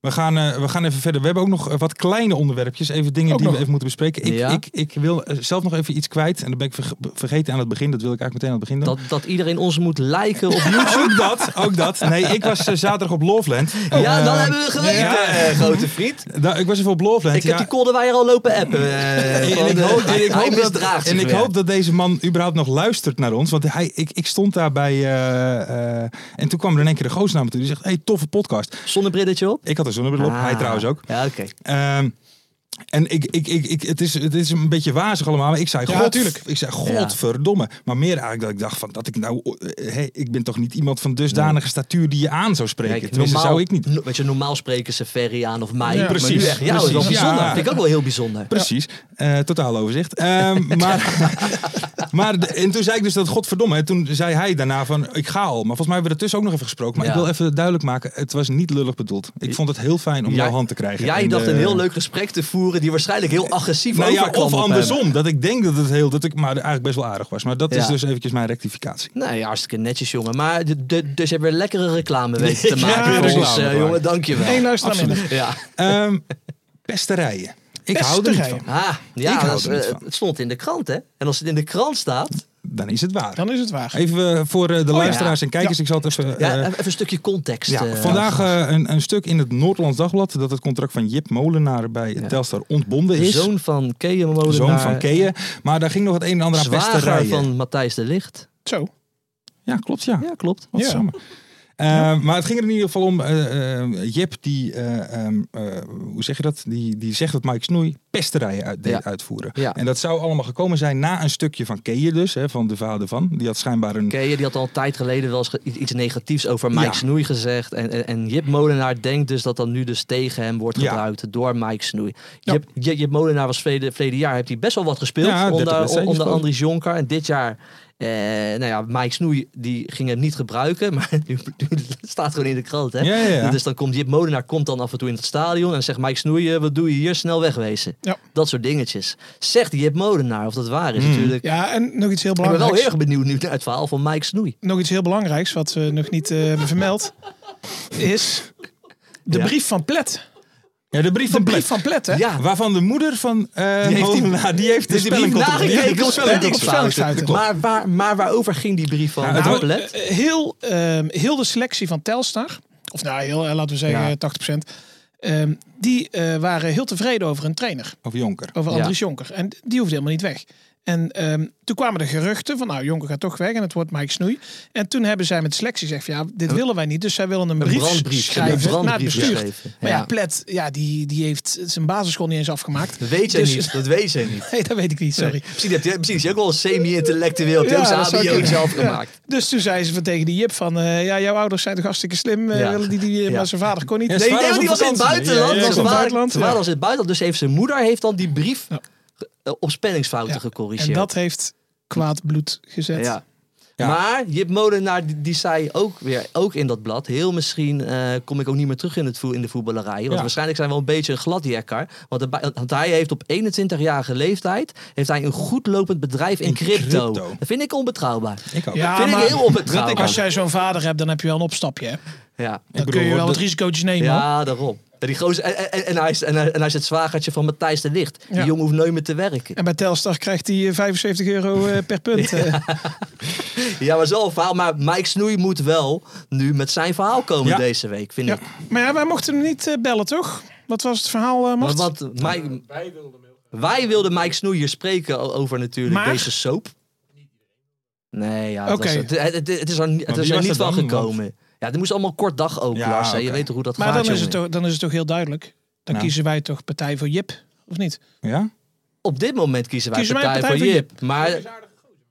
D: We gaan, eh, we gaan even verder. We hebben ook nog eh, wat kleine onderwerpjes. Even dingen
E: Ook
D: die we
E: nog.
D: even moeten bespreken. Ik,
F: Ja.
D: ik, ik wil eh, zelf nog even iets kwijt. En dat ben ik verge- vergeten aan het begin. Dat wil ik eigenlijk meteen aan het begin doen.
F: Dat, dat iedereen ons moet liken op YouTube.
D: Ook dat, ook dat. Nee, ik was eh, zaterdag op Loveland.
F: ja,
D: Eh,
F: dan hebben we geweten,
D: ja.
F: eh, grote vriend.
D: da- ik was even op Loveland.
F: Ik
D: ja.
F: heb die kolderweier al lopen appen. eh,
D: En
F: van,
D: ik
F: eh,
D: hoop- en
F: hij-
D: ik
F: hij
D: hoop dat-
F: misdraagt
D: en
F: zich
D: ik
F: weer.
D: hoop dat deze man überhaupt nog luistert naar ons. Want hij, ik, ik stond daar bij... eh, eh, en toen kwam er in één keer de goos naar me toe. Die zegt, hey, toffe podcast.
F: Zonnebrilletje op.
D: Ik had een zonnebril op. Hij
F: Ah.
D: trouwens ook.
F: Ja, oké.
D: Ehm, en ik, ik, ik, ik, het, is, het is een beetje wazig allemaal, maar ik zei,
E: Ja,
D: God,
E: tuurlijk.
D: ik zei godverdomme. Maar meer eigenlijk dat ik dacht van, dat ik nou, eh, hé, ik ben toch niet iemand van dusdanige statuur die je aan zou spreken.
F: Kijk,
D: Tenminste, zou ik niet.
F: no- weet je, normaal spreken ze Ferry aan of mij.
E: Ja,
F: maar
D: precies,
F: nu echt jou is wel
D: precies,
F: bijzonder.
D: ja.
F: Vind ik ook wel heel bijzonder.
D: Precies, Eh, totaal overzicht. Ehm, maar maar de- en toen zei ik dus dat, godverdomme. En toen zei hij daarna van, ik ga al. Maar volgens mij hebben we er tussen ook nog even gesproken. Maar
F: Ja.
D: ik wil even duidelijk maken, het was niet lullig bedoeld. Ik vond het heel fijn om
F: Jij-
D: jouw hand te krijgen.
F: Jij
D: En,
F: dacht een
D: eh,
F: heel leuk gesprek te voeren die waarschijnlijk heel agressief
D: Nou ja,
F: overkwam
D: of
F: op eh, hem.
D: andersom. Dat ik denk dat het heel, dat ik maar eigenlijk best wel aardig was. Maar dat is
F: Ja.
D: dus eventjes mijn rectificatie.
F: Nee, hartstikke netjes, jongen. Maar de, de- dus je hebt weer lekkere reclame weten te
D: Ja,
F: maken voor
D: reclame
F: ons, eh,
D: maken.
F: jongen. Dank je wel.
E: Eén
D: nou,
E: luisteraar minder.
F: Ja,
D: Ehm pesterijen. Ik hou er niet
E: Pesterijen.
D: van.
F: ah, ja
D: Ik hou
F: dat is,
D: er niet
F: eh,
D: van. Eh,
F: het stond in de krant, hè? En als het in de krant staat,
D: Dan is het waar.
E: Dan Oh is het waar.
D: Even eh, voor eh, de luisteraars en kijkers. Ik zal het even...
F: ja,
D: eh,
F: even een stukje context.
D: ja,
F: eh,
D: vandaag eh, een, een stuk in het Noord-Hollands Dagblad dat het contract van Jip Molenaar bij Telstar ontbonden
F: de
D: is.
F: zoon van Keeën Molenaar. eh,
D: Zoon van Keeën. Maar daar ging nog het een en ander aan
F: Zwager
D: pesterijen.
F: van Matthijs de Licht.
E: Zo.
D: Ja, klopt ja.
F: Ja, klopt.
D: Wat
E: Ja.
D: jammer. Eh, Maar het ging er in ieder geval om. eh, eh, Jip, die, eh, ehm, eh, hoe zeg je dat? Die, die zegt dat Mike Snoei pesterijen uit, deed
F: Ja.
D: uitvoeren.
F: Ja.
D: En dat zou allemaal gekomen zijn na een stukje van Keeën dus, hè, van de vader van. Die had schijnbaar een...
F: Keeën die had al een tijd geleden wel eens ge- iets- iets negatiefs over Mike
D: Ja.
F: Snoei gezegd. En, en, en Jip Molenaar denkt dus dat dat nu dus tegen hem wordt
D: Ja.
F: gebruikt door Mike Snoei.
E: Ja.
F: Jip, Jip, Jip Molenaar was verleden, verleden jaar, heeft hij best wel wat gespeeld
D: Ja, 30
F: onder,
D: wedstrijdjes
F: onder
D: geloof ik.
F: Andries Jonker. En dit jaar, eh, nou ja, Mike Snoei die ging hem niet gebruiken. Maar nu, nu staat gewoon in de krant, hè.
D: Ja, ja, ja.
F: Dus dan komt Jip Molenaar komt dan af en toe in het stadion en zegt Mike Snoei, eh, wat doe je hier? Snel wegwezen.
E: Ja.
F: Dat soort dingetjes. Zegt Jip Molenaar of dat waar is
D: Hmm.
F: natuurlijk.
E: Ja, en nog iets heel
F: Ik ben wel
E: belangrijks.
F: heel erg benieuwd nu naar het verhaal van Mike Snoei.
E: nog iets heel belangrijks wat we nog niet eh, hebben vermeld. Is de
F: Ja.
E: brief van Plet.
D: Ja, de brief
E: De
D: van
E: brief
D: Plet.
E: van Plet, hè?
F: Ja,
D: Waarvan de moeder van eh
F: Die heeft die-
D: Molenaar, die heeft de
F: Dus die brief
D: spellingcontrole. Die heeft
F: nagekeken
D: de
F: op
D: spellingcontrole.
E: spellingsfouten.
D: Klopt.
F: Maar, waar, maar waarover ging die brief van
D: Nou,
E: Nou,
F: Plet?
E: eh, heel, ehm, heel de selectie van Telstar, of nou heel, eh, laten we zeggen
F: Ja.
E: 80%, ehm, die eh, waren heel tevreden over een trainer,
D: Of Jonker.
E: over
F: Ja.
E: Andries Jonker. En die hoefde helemaal niet weg. En ehm, toen kwamen de geruchten van, nou, Jonker gaat toch weg en het wordt Mike Snoei. En toen hebben zij met selectie gezegd, van, ja, dit willen wij niet. Dus zij willen een, brief
F: brandbrief,
E: schrijven
F: een
E: naar het
F: brandbrief
E: bestuur.
F: geschreven,
E: Maar ja,
F: ja.
E: Plet, ja, die, die heeft zijn basisschool niet eens afgemaakt.
F: Dat weet jij
E: Dus-
F: niet. Dat weet jij niet.
E: Nee, dat weet ik niet, sorry.
F: Misschien, heb je, misschien is hij ook wel een semi-intellectueel.
E: Ja,
F: Ja, dat
E: dat zou
F: heb je ook
E: kunnen.
F: zelf gemaakt.
E: Dus toen zei ze van tegen die Jip van, eh, ja, jouw ouders zijn toch hartstikke slim, eh,
F: Ja.
E: willen die, die
F: Ja.
E: maar zijn vader kon niet.
D: Ja,
F: Nee,
D: Zwaar
F: nee,
D: was
F: want die
D: op
F: was in het
D: vakantie. Ja,
F: buitenland.
D: ja,
F: want
D: ja.
F: Zijn
E: Was in het
F: vader-
E: buitenland,
F: zijn vader
E: ja.
F: was in het buitenland. Dus heeft zijn moeder heeft dan die brief
E: Ja.
F: ge- eh, op spellingsfouten
E: Ja,
F: gecorrigeerd.
E: En dat heeft kwaad bloed gezet.
F: Ja.
D: Ja.
F: Maar Jip Molenaar die, die zei ook weer, ook in dat blad, heel misschien eh, kom ik ook niet meer terug in, het vo- in de voetballerij. Want
D: Ja.
F: waarschijnlijk zijn we wel een beetje een gladjekker. Want, de ba- want hij heeft op 21-jarige leeftijd heeft hij een goed lopend bedrijf in,
D: In
F: crypto.
D: crypto.
F: Dat vind ik onbetrouwbaar.
D: Ik ook.
E: Ja,
F: vind
E: maar
F: ik heel
E: als
F: onbetrouwbaar.
E: jij zo'n vader hebt, dan heb je wel een opstapje. Hè?
F: Ja.
E: Dan
D: bedoel,
E: kun je wel
D: dat-
E: wat risicootjes nemen. hoor.
F: ja, daarom. En, die gozer, en, en- en, en, hij is, en, hij, en hij is het zwagertje van Matthijs de Licht. Die
E: Ja.
F: jongen hoeft nooit meer te werken.
E: En bij Telstar krijgt hij eh, 75 euro eh, per punt. eh.
F: Ja, maar zo een verhaal. Maar Mike Snoei moet wel nu met zijn verhaal komen
D: Ja.
F: deze week, vind
E: ja.
F: ik.
E: Maar ja, wij mochten hem niet eh, bellen, toch? Wat was het verhaal, eh
F: Maar
E: Mart?
F: wat, Mike, wij wilden Mike Snoeier spreken o- over natuurlijk
E: Maar-
F: deze soap. Nee, ja, het,
E: Oké.
F: was- het, het- het- het is er, ni- het
D: Maar
F: is
D: wie
F: er
D: was
F: niet
D: dat
F: van
D: dan? Want-
F: gekomen. Ja, er moest allemaal kort dag open,
D: Ja,
F: Lars. hè. Je
D: oké.
F: weet toch hoe dat
E: maar
F: gaat,
E: dan is, het
F: jongen.
E: toch, dan is het toch heel duidelijk. Dan
D: Ja.
E: kiezen wij toch partij voor Jip, of niet?
D: Ja?
F: Op dit moment kiezen wij
E: Kiezen wij
F: partij,
E: partij
F: voor
E: voor
F: Jip. Maar...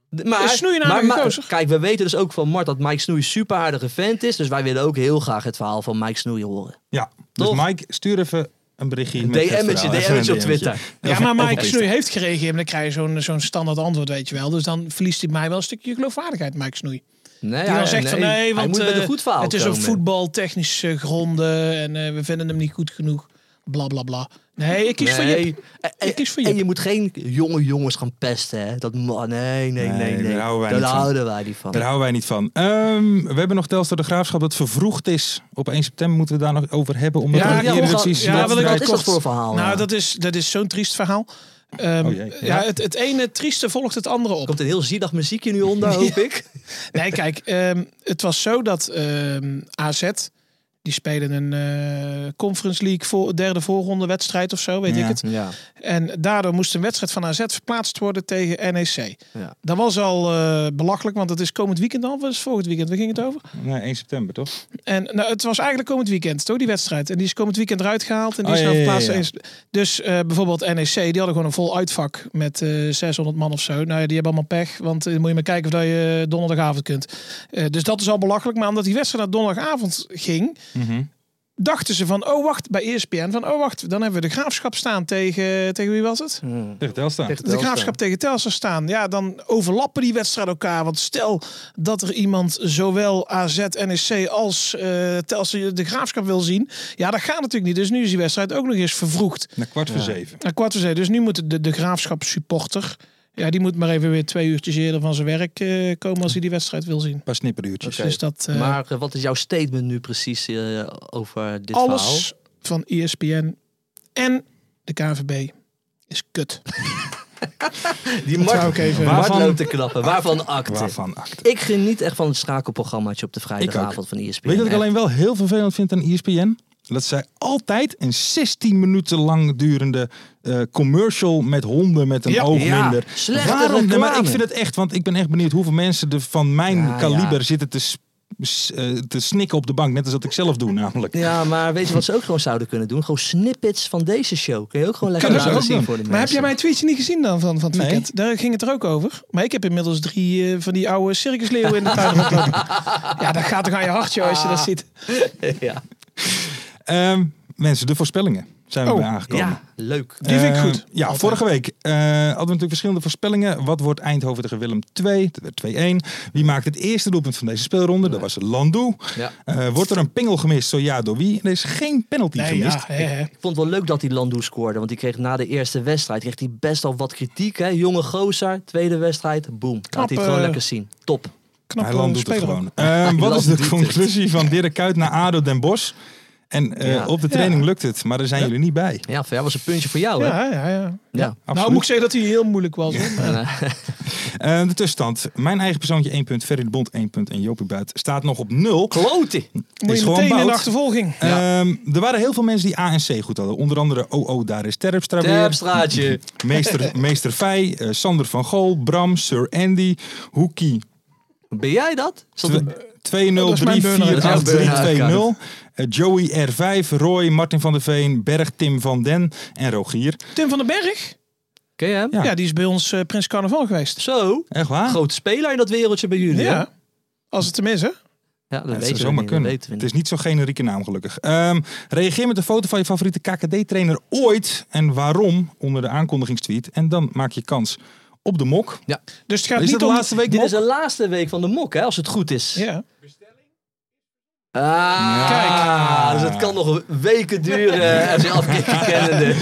F: Maar,
E: Is nou Snoei een
F: maar,
E: aardige
F: maar-
E: gozer?
F: kijk, we weten dus ook van Mart dat Mike Snoei een super aardige vent is. Dus wij willen ook heel graag het verhaal van Mike Snoei horen.
D: Ja. Dus
F: Toch?
D: Mike, stuur even Een berichtje.
F: Een
D: met het
F: DM'tje,
D: verhaal. Even een
F: DM'tje op
D: DM'tje.
F: Twitter.
E: Ja,
D: Of-
E: maar
D: of op
E: Mike
D: Insta.
E: Snoei heeft gereageerd. En dan krijg je zo'n zo'n standaard antwoord, weet je wel. Dus dan verliest hij mij wel een stukje geloofwaardigheid, Mike Snoei.
F: Nee,
E: Die
F: hij-
E: dan zegt van nee,
F: hij
E: want
F: moet met
E: eh,
F: een goed verhaal
E: het is op
F: komen.
E: voetbaltechnische gronden. En eh, we vinden hem niet goed genoeg. Bla, bla, bla. Nee, ik kies voor
F: Nee.
E: je.
F: En- en-
E: Ik kies voor
F: En
E: Jip.
F: je moet geen jonge jongens gaan pesten, hè? Dat, ma- nee, nee,
D: Nee,
F: nee, nee.
D: daar houden wij
F: Daar
D: niet van.
F: houden wij niet van.
D: Daar houden wij niet van. Ehm, we hebben nog Telstra de Graafschap dat vervroegd is. Op 1 september moeten we daar nog over hebben. Omdat
E: Ja,
D: we
E: ja,
D: hier
F: we gaan-
D: precies
E: ja,
D: dat-
E: wil ik
F: Wat
E: het
F: is
E: kort-
F: dat voor verhaal?
E: Nou,
F: nou?
E: dat is, dat is zo'n triest verhaal. Ehm,
D: Oh jee,
E: ja.
D: ja.
E: het, het ene trieste volgt het andere op.
F: Komt een heel zielig muziekje nu onder, hoop ik.
E: Nee, kijk, ehm, het was zo dat ehm, AZ, die spelen een eh, Conference League voor, derde voorronde wedstrijd of zo, weet
D: Ja.
E: ik het.
F: Ja.
E: En daardoor moest een wedstrijd van AZ verplaatst worden tegen NEC.
F: Ja.
E: Dat was al eh, belachelijk, want het is komend weekend al, of is het volgend weekend, waar ging het over?
D: Nee, 1 september toch?
E: En nou, het was eigenlijk komend weekend, toch, die wedstrijd. En die is komend weekend eruit gehaald en die
D: Oh,
E: is
D: ja,
E: nou
D: ja, ja,
E: verplaatst. Dus eh, bijvoorbeeld NEC, die hadden gewoon een vol uitvak met eh, 600 man of zo. Nou ja, die hebben allemaal pech, want eh, moet je maar kijken of dat je donderdagavond kunt. Eh, dus dat is al belachelijk. Maar omdat die wedstrijd naar donderdagavond ging,
D: Mhm.
E: dachten ze van, oh wacht, bij ESPN, van oh wacht, dan hebben we de graafschap staan tegen, tegen wie was het?
D: Tegen Telstra.
F: Tegen
E: de graafschap tegen Telstra staan. Ja, dan overlappen die wedstrijden elkaar. Want stel dat er iemand zowel AZ, NEC E als eh Telstra de graafschap wil zien. Ja, dat gaat natuurlijk niet. Dus nu is die wedstrijd ook nog eens vervroegd.
D: Naar kwart voor zeven.
E: Nou, kwart voor zeven. Dus nu moet de, de graafschap supporter... Ja, die moet maar even weer twee uurtjes eerder van zijn werk eh, komen als hij die wedstrijd wil zien.
D: Een paar snipperuurtjes.
F: Oké.
E: Dus dat... eh,
F: Maar eh, wat is jouw statement nu precies eh, over dit verhaal?
E: alles van E ESPN en de KVB is kut.
F: Die
E: Dat
F: Mart,
E: wou ik even-
F: Mart
D: Waarvan-
F: loopt te knappen. Waarvan acte?
D: Waarvan acte.
F: Ik geniet echt van het schakelprogrammaatje op de vrijdagavond van E ESPN.
D: Weet je wat ik
F: Echt.
D: alleen wel heel vervelend vind aan E ESPN? Dat zij altijd een 16 minuten lang durende eh, commercial met honden met een
E: Ja.
D: oog
F: Ja,
D: minder.
F: slechte
D: Waarom? Nee, maar ik
F: reclame.
D: vind het echt, want ik ben echt benieuwd hoeveel mensen er van mijn
F: Ja,
D: kaliber
F: ja.
D: zitten te, s- s- eh, te snikken op de bank. Net als dat ik zelf doe namelijk.
F: Ja, maar weet je wat ze ook gewoon zouden kunnen doen? Gewoon snippets van deze show. Kun je ook gewoon lekker
D: Kunnen ze
F: laten
D: ook doen.
F: zien voor de mensen.
E: Maar heb jij mijn tweetje niet gezien dan van, van het
D: Nee.
E: weekend? Daar ging het er ook over. Maar ik heb inmiddels drie eh, van die oude circusleeuwen in de tuin rondlopen. Ja, dat gaat toch aan je hart, joh, als je dat ziet.
D: Ah,
F: ja.
D: Ehm, mensen, de voorspellingen zijn we
E: Oh,
D: bij aangekomen.
F: ja, leuk.
E: Die vind
D: Eh,
E: ik goed.
D: ja,
E: Altijd.
D: vorige week eh, hadden we natuurlijk verschillende voorspellingen. Wat wordt Eindhoven tegen Willem 2? Dat werd 2-1. Wie maakt het eerste doelpunt van deze speelronde? Dat was Landoe.
F: Ja.
D: Eh, wordt er een pingel gemist? Zo ja, door wie? Er is geen penalty
E: Nee,
D: gemist.
E: ja, hè, hè.
F: Ik vond het wel leuk dat die Landoe scoorde. Want die kreeg na de eerste wedstrijd kreeg die best al wat kritiek. Hè? Jonge gozer, tweede wedstrijd, boom. Laat hij het gewoon
E: eh,
F: lekker zien. Top.
D: Hij
E: Knap eh,
D: doet het
E: speler ook.
D: gewoon. Ehm, wat is
F: doet
D: de
F: het.
D: conclusie van Dirk Kuyt naar ADO Den Bosch? En eh,
F: Ja.
D: op de training lukt het, maar daar zijn jullie niet bij.
F: Ja, ver was een puntje voor
D: Oh,
F: jou. Hè?
E: Ja, ja, ja.
F: Ja.
E: Nou, moet ik zeggen dat hij heel moeilijk was. hoor. Maar-
D: Eh, de tussenstand. Mijn eigen persoontje 1 punt, Ferry de Bond 1 punt en Jopie Buit staat nog op 0.
F: Klote.
E: Moet
D: Is
E: je
D: gewoon
E: meteen in de
D: bout.
E: achtervolging.
D: Ehm, er waren heel veel mensen die A en C goed hadden. Onder andere OO, daar is Terpstra weer.
F: Terpstraatje.
D: Meester, Meester Fey, eh, Sander van Gool, Bram, Sir Andy, Hoekie.
F: Ben jij dat? Zat
D: tw-
F: er-
D: 2-0,
E: Oh, dat is mijn
D: 3, 4,
E: burn-out.
D: 8,
F: Dat is
D: 3,
F: mijn
D: 2,
F: burn-out.
D: 0. Eh, Joey R5, Roy, Martin van der Veen, Berg, Tim van Den en Rogier.
E: Tim van den Berg,
F: Ken je hem?
D: Ja.
E: ja. die is bij ons eh, Prins Carnaval geweest.
F: Zo.
D: Echt waar?
F: Grote speler in dat wereldje bij jullie. hè?
E: Ja. Als het hem is, hè?
F: ja dat
D: Ja, het
F: weten
D: zou
F: we
D: zomaar
F: niet, dat
D: kunnen.
F: weten we
D: Het
F: niet.
D: is niet zo'n generieke naam, gelukkig. Ehm, reageer met een foto van je favoriete KKD-trainer ooit en waarom onder de aankondigingstweet. En dan maak je kans op de mok.
E: Dus het
D: Is
E: gaat niet
D: dat de
E: om...
D: laatste week
F: Dit
D: mok?
F: is de laatste week van de mok, hè, als het goed is.
E: Ja.
F: Ah,
D: Kijk.
F: Dus het kan nog weken duren. eh, en zijn afkikking kennende.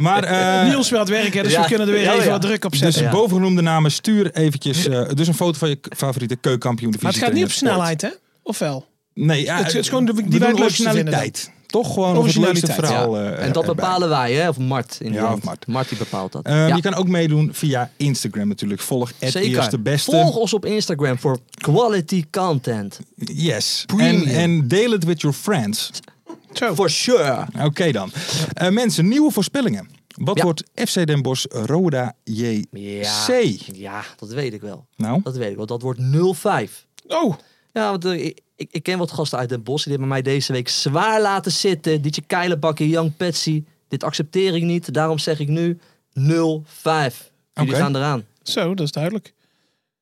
D: Maar eh,
E: Niels wil aan het werk, hè, dus
F: Ja.
E: we kunnen er weer
F: Ja,
E: even
F: ja.
E: wat druk op
D: Dus
E: zetten.
F: Ja.
D: bovengenoemde namen, stuur eventjes eh, dus een foto van je k- favoriete keukenkampioen.
E: maar het gaat niet op snelheid, hè? Of wel?
D: Nee, ja,
E: Het- het is gewoon de-
D: we
E: die
D: doen
E: wij het leukste
D: originaliteit. Toch gewoon of het leukste
E: Originaliteit,
D: verhaal.
F: Ja.
D: eh,
F: en dat
D: erbij.
F: bepalen wij, hè? Of Mart. In
D: Ja,
F: die hand.
D: of Mart.
F: die bepaalt dat.
D: Eh,
F: Ja,
D: Je kan ook meedoen via Instagram natuurlijk. Volg het
F: zeker.
D: eerste beste.
F: Volg ons op Instagram voor quality content.
D: Yes. En,
F: Premium.
D: en deel het with your friends.
E: Zo.
F: For sure.
D: Oké dan. Eh, mensen, nieuwe voorspellingen. Wat
F: Ja.
D: wordt FC Den Bosch Roda JC?
F: Ja. Ja, dat weet ik wel.
D: Nou,
F: Dat weet ik wel. Dat wordt 0-5.
E: Oh,
F: Ja, want eh, ik, ik, ik ken wat gasten uit Den Bosch. Die hebben mij deze week zwaar laten zitten. Dietje Keilenbakken, Young Patsy. Dit accepteer ik niet. Daarom zeg ik nu 0-5. Jullie
D: Oké.
F: gaan eraan.
E: zo, dat is duidelijk.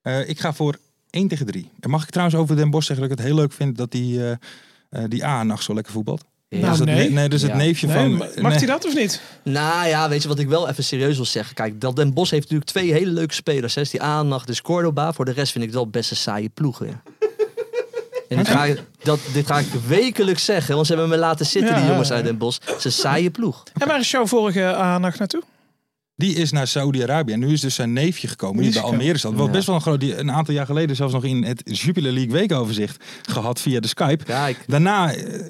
D: eh, ik ga voor 1 tegen 3. En mag ik trouwens over Den Bosch zeggen dat ik het heel leuk vind dat die, eh eh, die A-nacht zo lekker voetbalt?
E: Nou,
D: dus dat
E: nee.
D: ne- nee, dus het
F: Ja.
D: neefje
E: Nee,
D: van...
E: ma- mag
D: nee.
E: hij dat of niet?
F: Nou ja, weet je wat ik wel even serieus wil zeggen? Kijk, dat Den Bos heeft natuurlijk twee hele leuke spelers. Hè? Is Die aandacht is Cordoba. Voor de rest vind ik het wel best een saaie ploeg. Weer. En dit ga, ik, dat, dit ga ik wekelijks zeggen, want ze hebben me laten zitten,
E: Ja,
F: die jongens
E: ja, ja.
F: uit Den Bos. Het is een saaie ploeg.
E: En waar is jouw vorige eh, aandacht naartoe?
D: Die is naar Saudi-Arabië en nu is dus zijn neefje gekomen, die
E: Die
D: bij
E: is gekomen.
D: Almere zat. Wat
F: Ja.
D: best wel een groot, die een aantal jaar geleden zelfs nog in het Jupiler League weekoverzicht gehad via de Skype.
F: Kijk,
D: Daarna eh,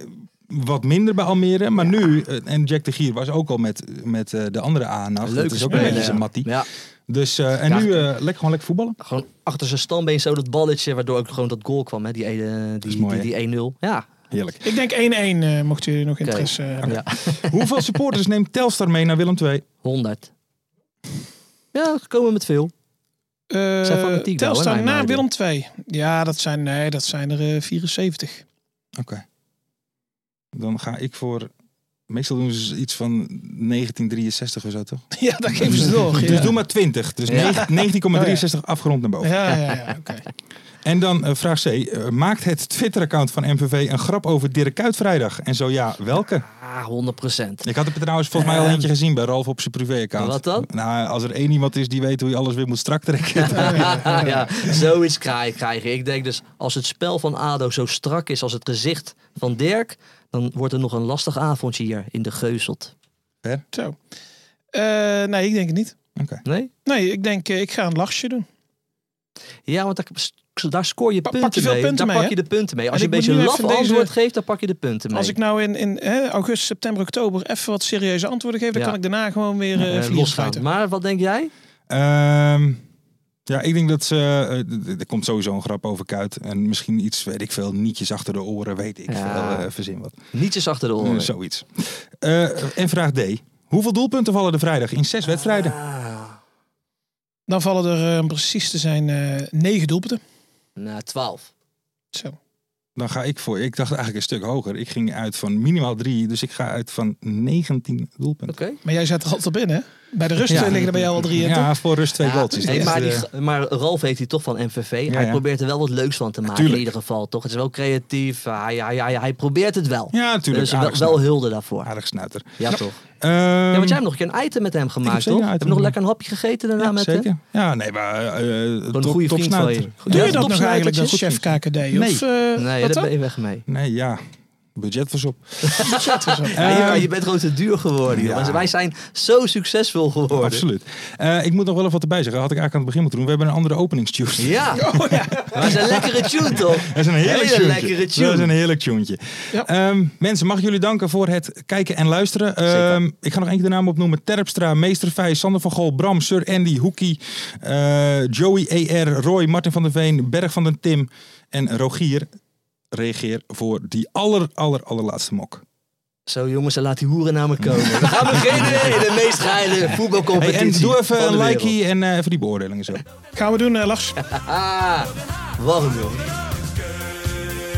D: wat minder bij Almere, maar nu, eh, en Jack de Gier was ook al met, met eh, de andere aandacht.
F: leuke
D: dat is ook een
F: speler,
D: beetje zijn
F: ja.
D: mattie.
F: Ja,
D: Dus, eh, en
F: Ja.
D: nu eh, lekker, gewoon lekker voetballen.
F: gewoon achter zijn standbeen zo dat balletje, waardoor ook gewoon dat goal kwam, hè? die, ene- die,
D: is mooi,
F: die, die 1-0. Ja,
D: Heerlijk.
E: Ik denk 1-1, eh, mochten jullie nog interesse hebben.
F: ja,
D: Hoeveel supporters neemt Telstar mee naar Willem II?
F: 100. Ja, ze komen met veel.
E: Eh,
F: Zijn fanatiek wel, hè,
E: Telstar
F: mijn
E: na
F: meiden.
E: Willem 2. Ja, dat zijn, nee, dat zijn er eh, 74.
D: Oké. Dan ga ik voor... Meestal doen ze iets van 1963 of zo, toch?
E: Ja, dat geven ze door.
D: Dus
E: ja.
D: doe maar 20. Dus negen- 19,63 afgerond naar boven.
E: Ja, ja, ja. oké.
D: En dan eh, vraag C. eh, maakt het Twitter-account van MVV een grap over Dirk Kuyt vrijdag? En zo ja, welke?
F: Ah, 100 procent.
D: Ik had er trouwens volgens mij al
F: Ehm.
D: eentje gezien bij Ralf op zijn privé-account.
F: Wat dan?
D: Nou, als er één iemand is die weet hoe je alles weer moet strak trekken.
F: ja, zoiets krijg, krijg je. Ik denk dus, als het spel van ADO zo strak is als het gezicht van Dirk... dan wordt er nog een lastig avondje hier in de Geuzelt.
E: Zo. Eh, nee, ik denk het niet.
F: Nee?
E: Nee, ik denk, eh, ik ga een lachje doen.
F: Ja, want daar, daar scoor je
E: Pa-
F: punten
E: pak je veel
F: mee.
E: punten
F: daar
E: mee,
F: pak je
E: hè?
F: de punten mee. Als
E: En
F: je een
E: ik moet
F: beetje een
E: nu
F: laf
E: even deze-
F: antwoord geeft, dan pak je de punten mee.
E: Als ik nou in, in hè, augustus, september, oktober even wat serieuze antwoorden geef, dan
F: Ja.
E: kan ik daarna gewoon weer eh
F: Eh,
E: vliegen
F: losgaan.
E: spuiten.
F: Maar wat denk jij?
D: Ehm, ja, ik denk dat ze... eh, d- d- er komt sowieso een grap over Kuyt. En misschien iets, weet ik veel, nietjes achter de oren, weet ik
F: Ja.
D: veel. eh, verzin wat.
F: Nietjes achter de
D: Eh,
F: oren.
D: zoiets. Eh, en vraag D. Hoeveel doelpunten vallen er vrijdag in zes wedstrijden?
F: Ah,
E: Dan vallen er eh, om precies te zijn eh, negen doelpunten.
F: nou, 12.
E: Zo.
D: Dan ga ik voor. Ik dacht eigenlijk een stuk hoger. Ik ging uit van minimaal drie. Dus ik ga uit van 19 doelpunten.
F: Oké.
E: Maar jij zet er altijd op in, hè? Bij de rust
D: Ja.
E: eh, liggen er bij jou al drie in, toch?
D: Ja, voor rust twee
F: Ja,
D: goaltjes.
F: hey,
D: Dat is,
F: maar,
D: eh,
F: die, maar Ralf heeft hij toch van MVV.
D: Ja,
F: hij
D: ja.
F: probeert er wel wat leuks van te maken
D: Tuurlijk.
F: in ieder geval. Toch? Het is wel creatief. Hij, hij, hij, hij probeert het wel.
D: ja, natuurlijk.
F: dus wel,
D: aardig,
F: wel
D: snuiter.
F: hulde daarvoor.
D: aardig snuiter.
F: Ja, toch?
D: Ehm,
F: Ja, want jij hebt nog een keer een item met hem gemaakt,
D: zeker
F: toch?
D: een
F: Heb je
D: item
F: nog
D: gemaakt.
F: lekker een hapje gegeten daarna
D: ja,
F: met hem?
D: zeker. Ja, nee, maar eh, eh,
F: Gewoon
D: top-
F: een goede vriend van
D: topsnuiter.
F: je.
E: Doe
F: Ja,
E: je dat nog
D: topsnuiter,
E: eigenlijk, dat
D: goed
E: chef
D: vriend.
E: KKD? Of, eh,
F: Nee,
E: wat
F: daar ben
E: dan?
F: je weg mee.
D: Nee, ja. Budget was op.
F: Ja, je-
D: Ehm,
F: je, bent gewoon te duur geworden. joh.
D: ja.
F: Wij zijn zo succesvol geworden.
D: Absoluut. Eh, ik moet nog wel even wat erbij zeggen. Had ik eigenlijk aan het begin moeten doen. We hebben een andere openingstune.
F: Ja. wij zijn lekkere tune, toch?
D: Oh, Dat is een heerlijk
F: Hele
D: tune.
F: lekkere tune.
D: Dat is een heerlijk tuentje.
E: Ja.
D: Ehm, mensen, mag ik jullie danken voor het kijken en luisteren.
F: Zeker.
D: Ehm, ik ga nog één keer de naam opnoemen. Terpstra, Meester Vijs, Sander van Gool, Bram, Sir Andy, Hoekie, eh, Joey ER, Roy, Martin van der Veen, Berg van den Tim en Rogier. Reageer voor die aller, aller, allerlaatste mok.
F: Zo jongens, dan laat die hoeren naar me komen. We gaan beginnen in de meest geile
D: Hey, en
F: voetbalcompetitie
D: doe even
F: van
D: een
F: de wereld.
D: likey en eh, even die beoordelingen zo.
E: Gaan we doen, eh, Lars.
F: Ah, warm joh.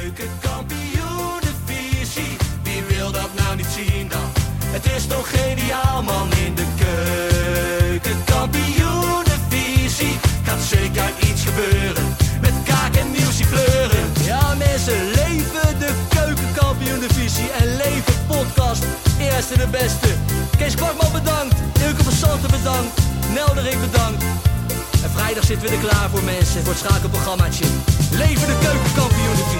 B: Keukenkampioenenvisie, wie wil dat nou niet zien dan? Het is toch geniaal man in de keukenkampioenenvisie. Gaat zeker iets gebeuren, met kaak en nieuwsie kleuren.
F: Ja mensen, leven de keukenkampioen-divisie en leven podcast. Eerste de beste. Kees Kwakman bedankt, Ilke van Santen bedankt, Nelderik bedankt. En vrijdag zitten we er klaar voor mensen, voor het schakelprogrammaatje. Leven de keukenkampioen-divisie.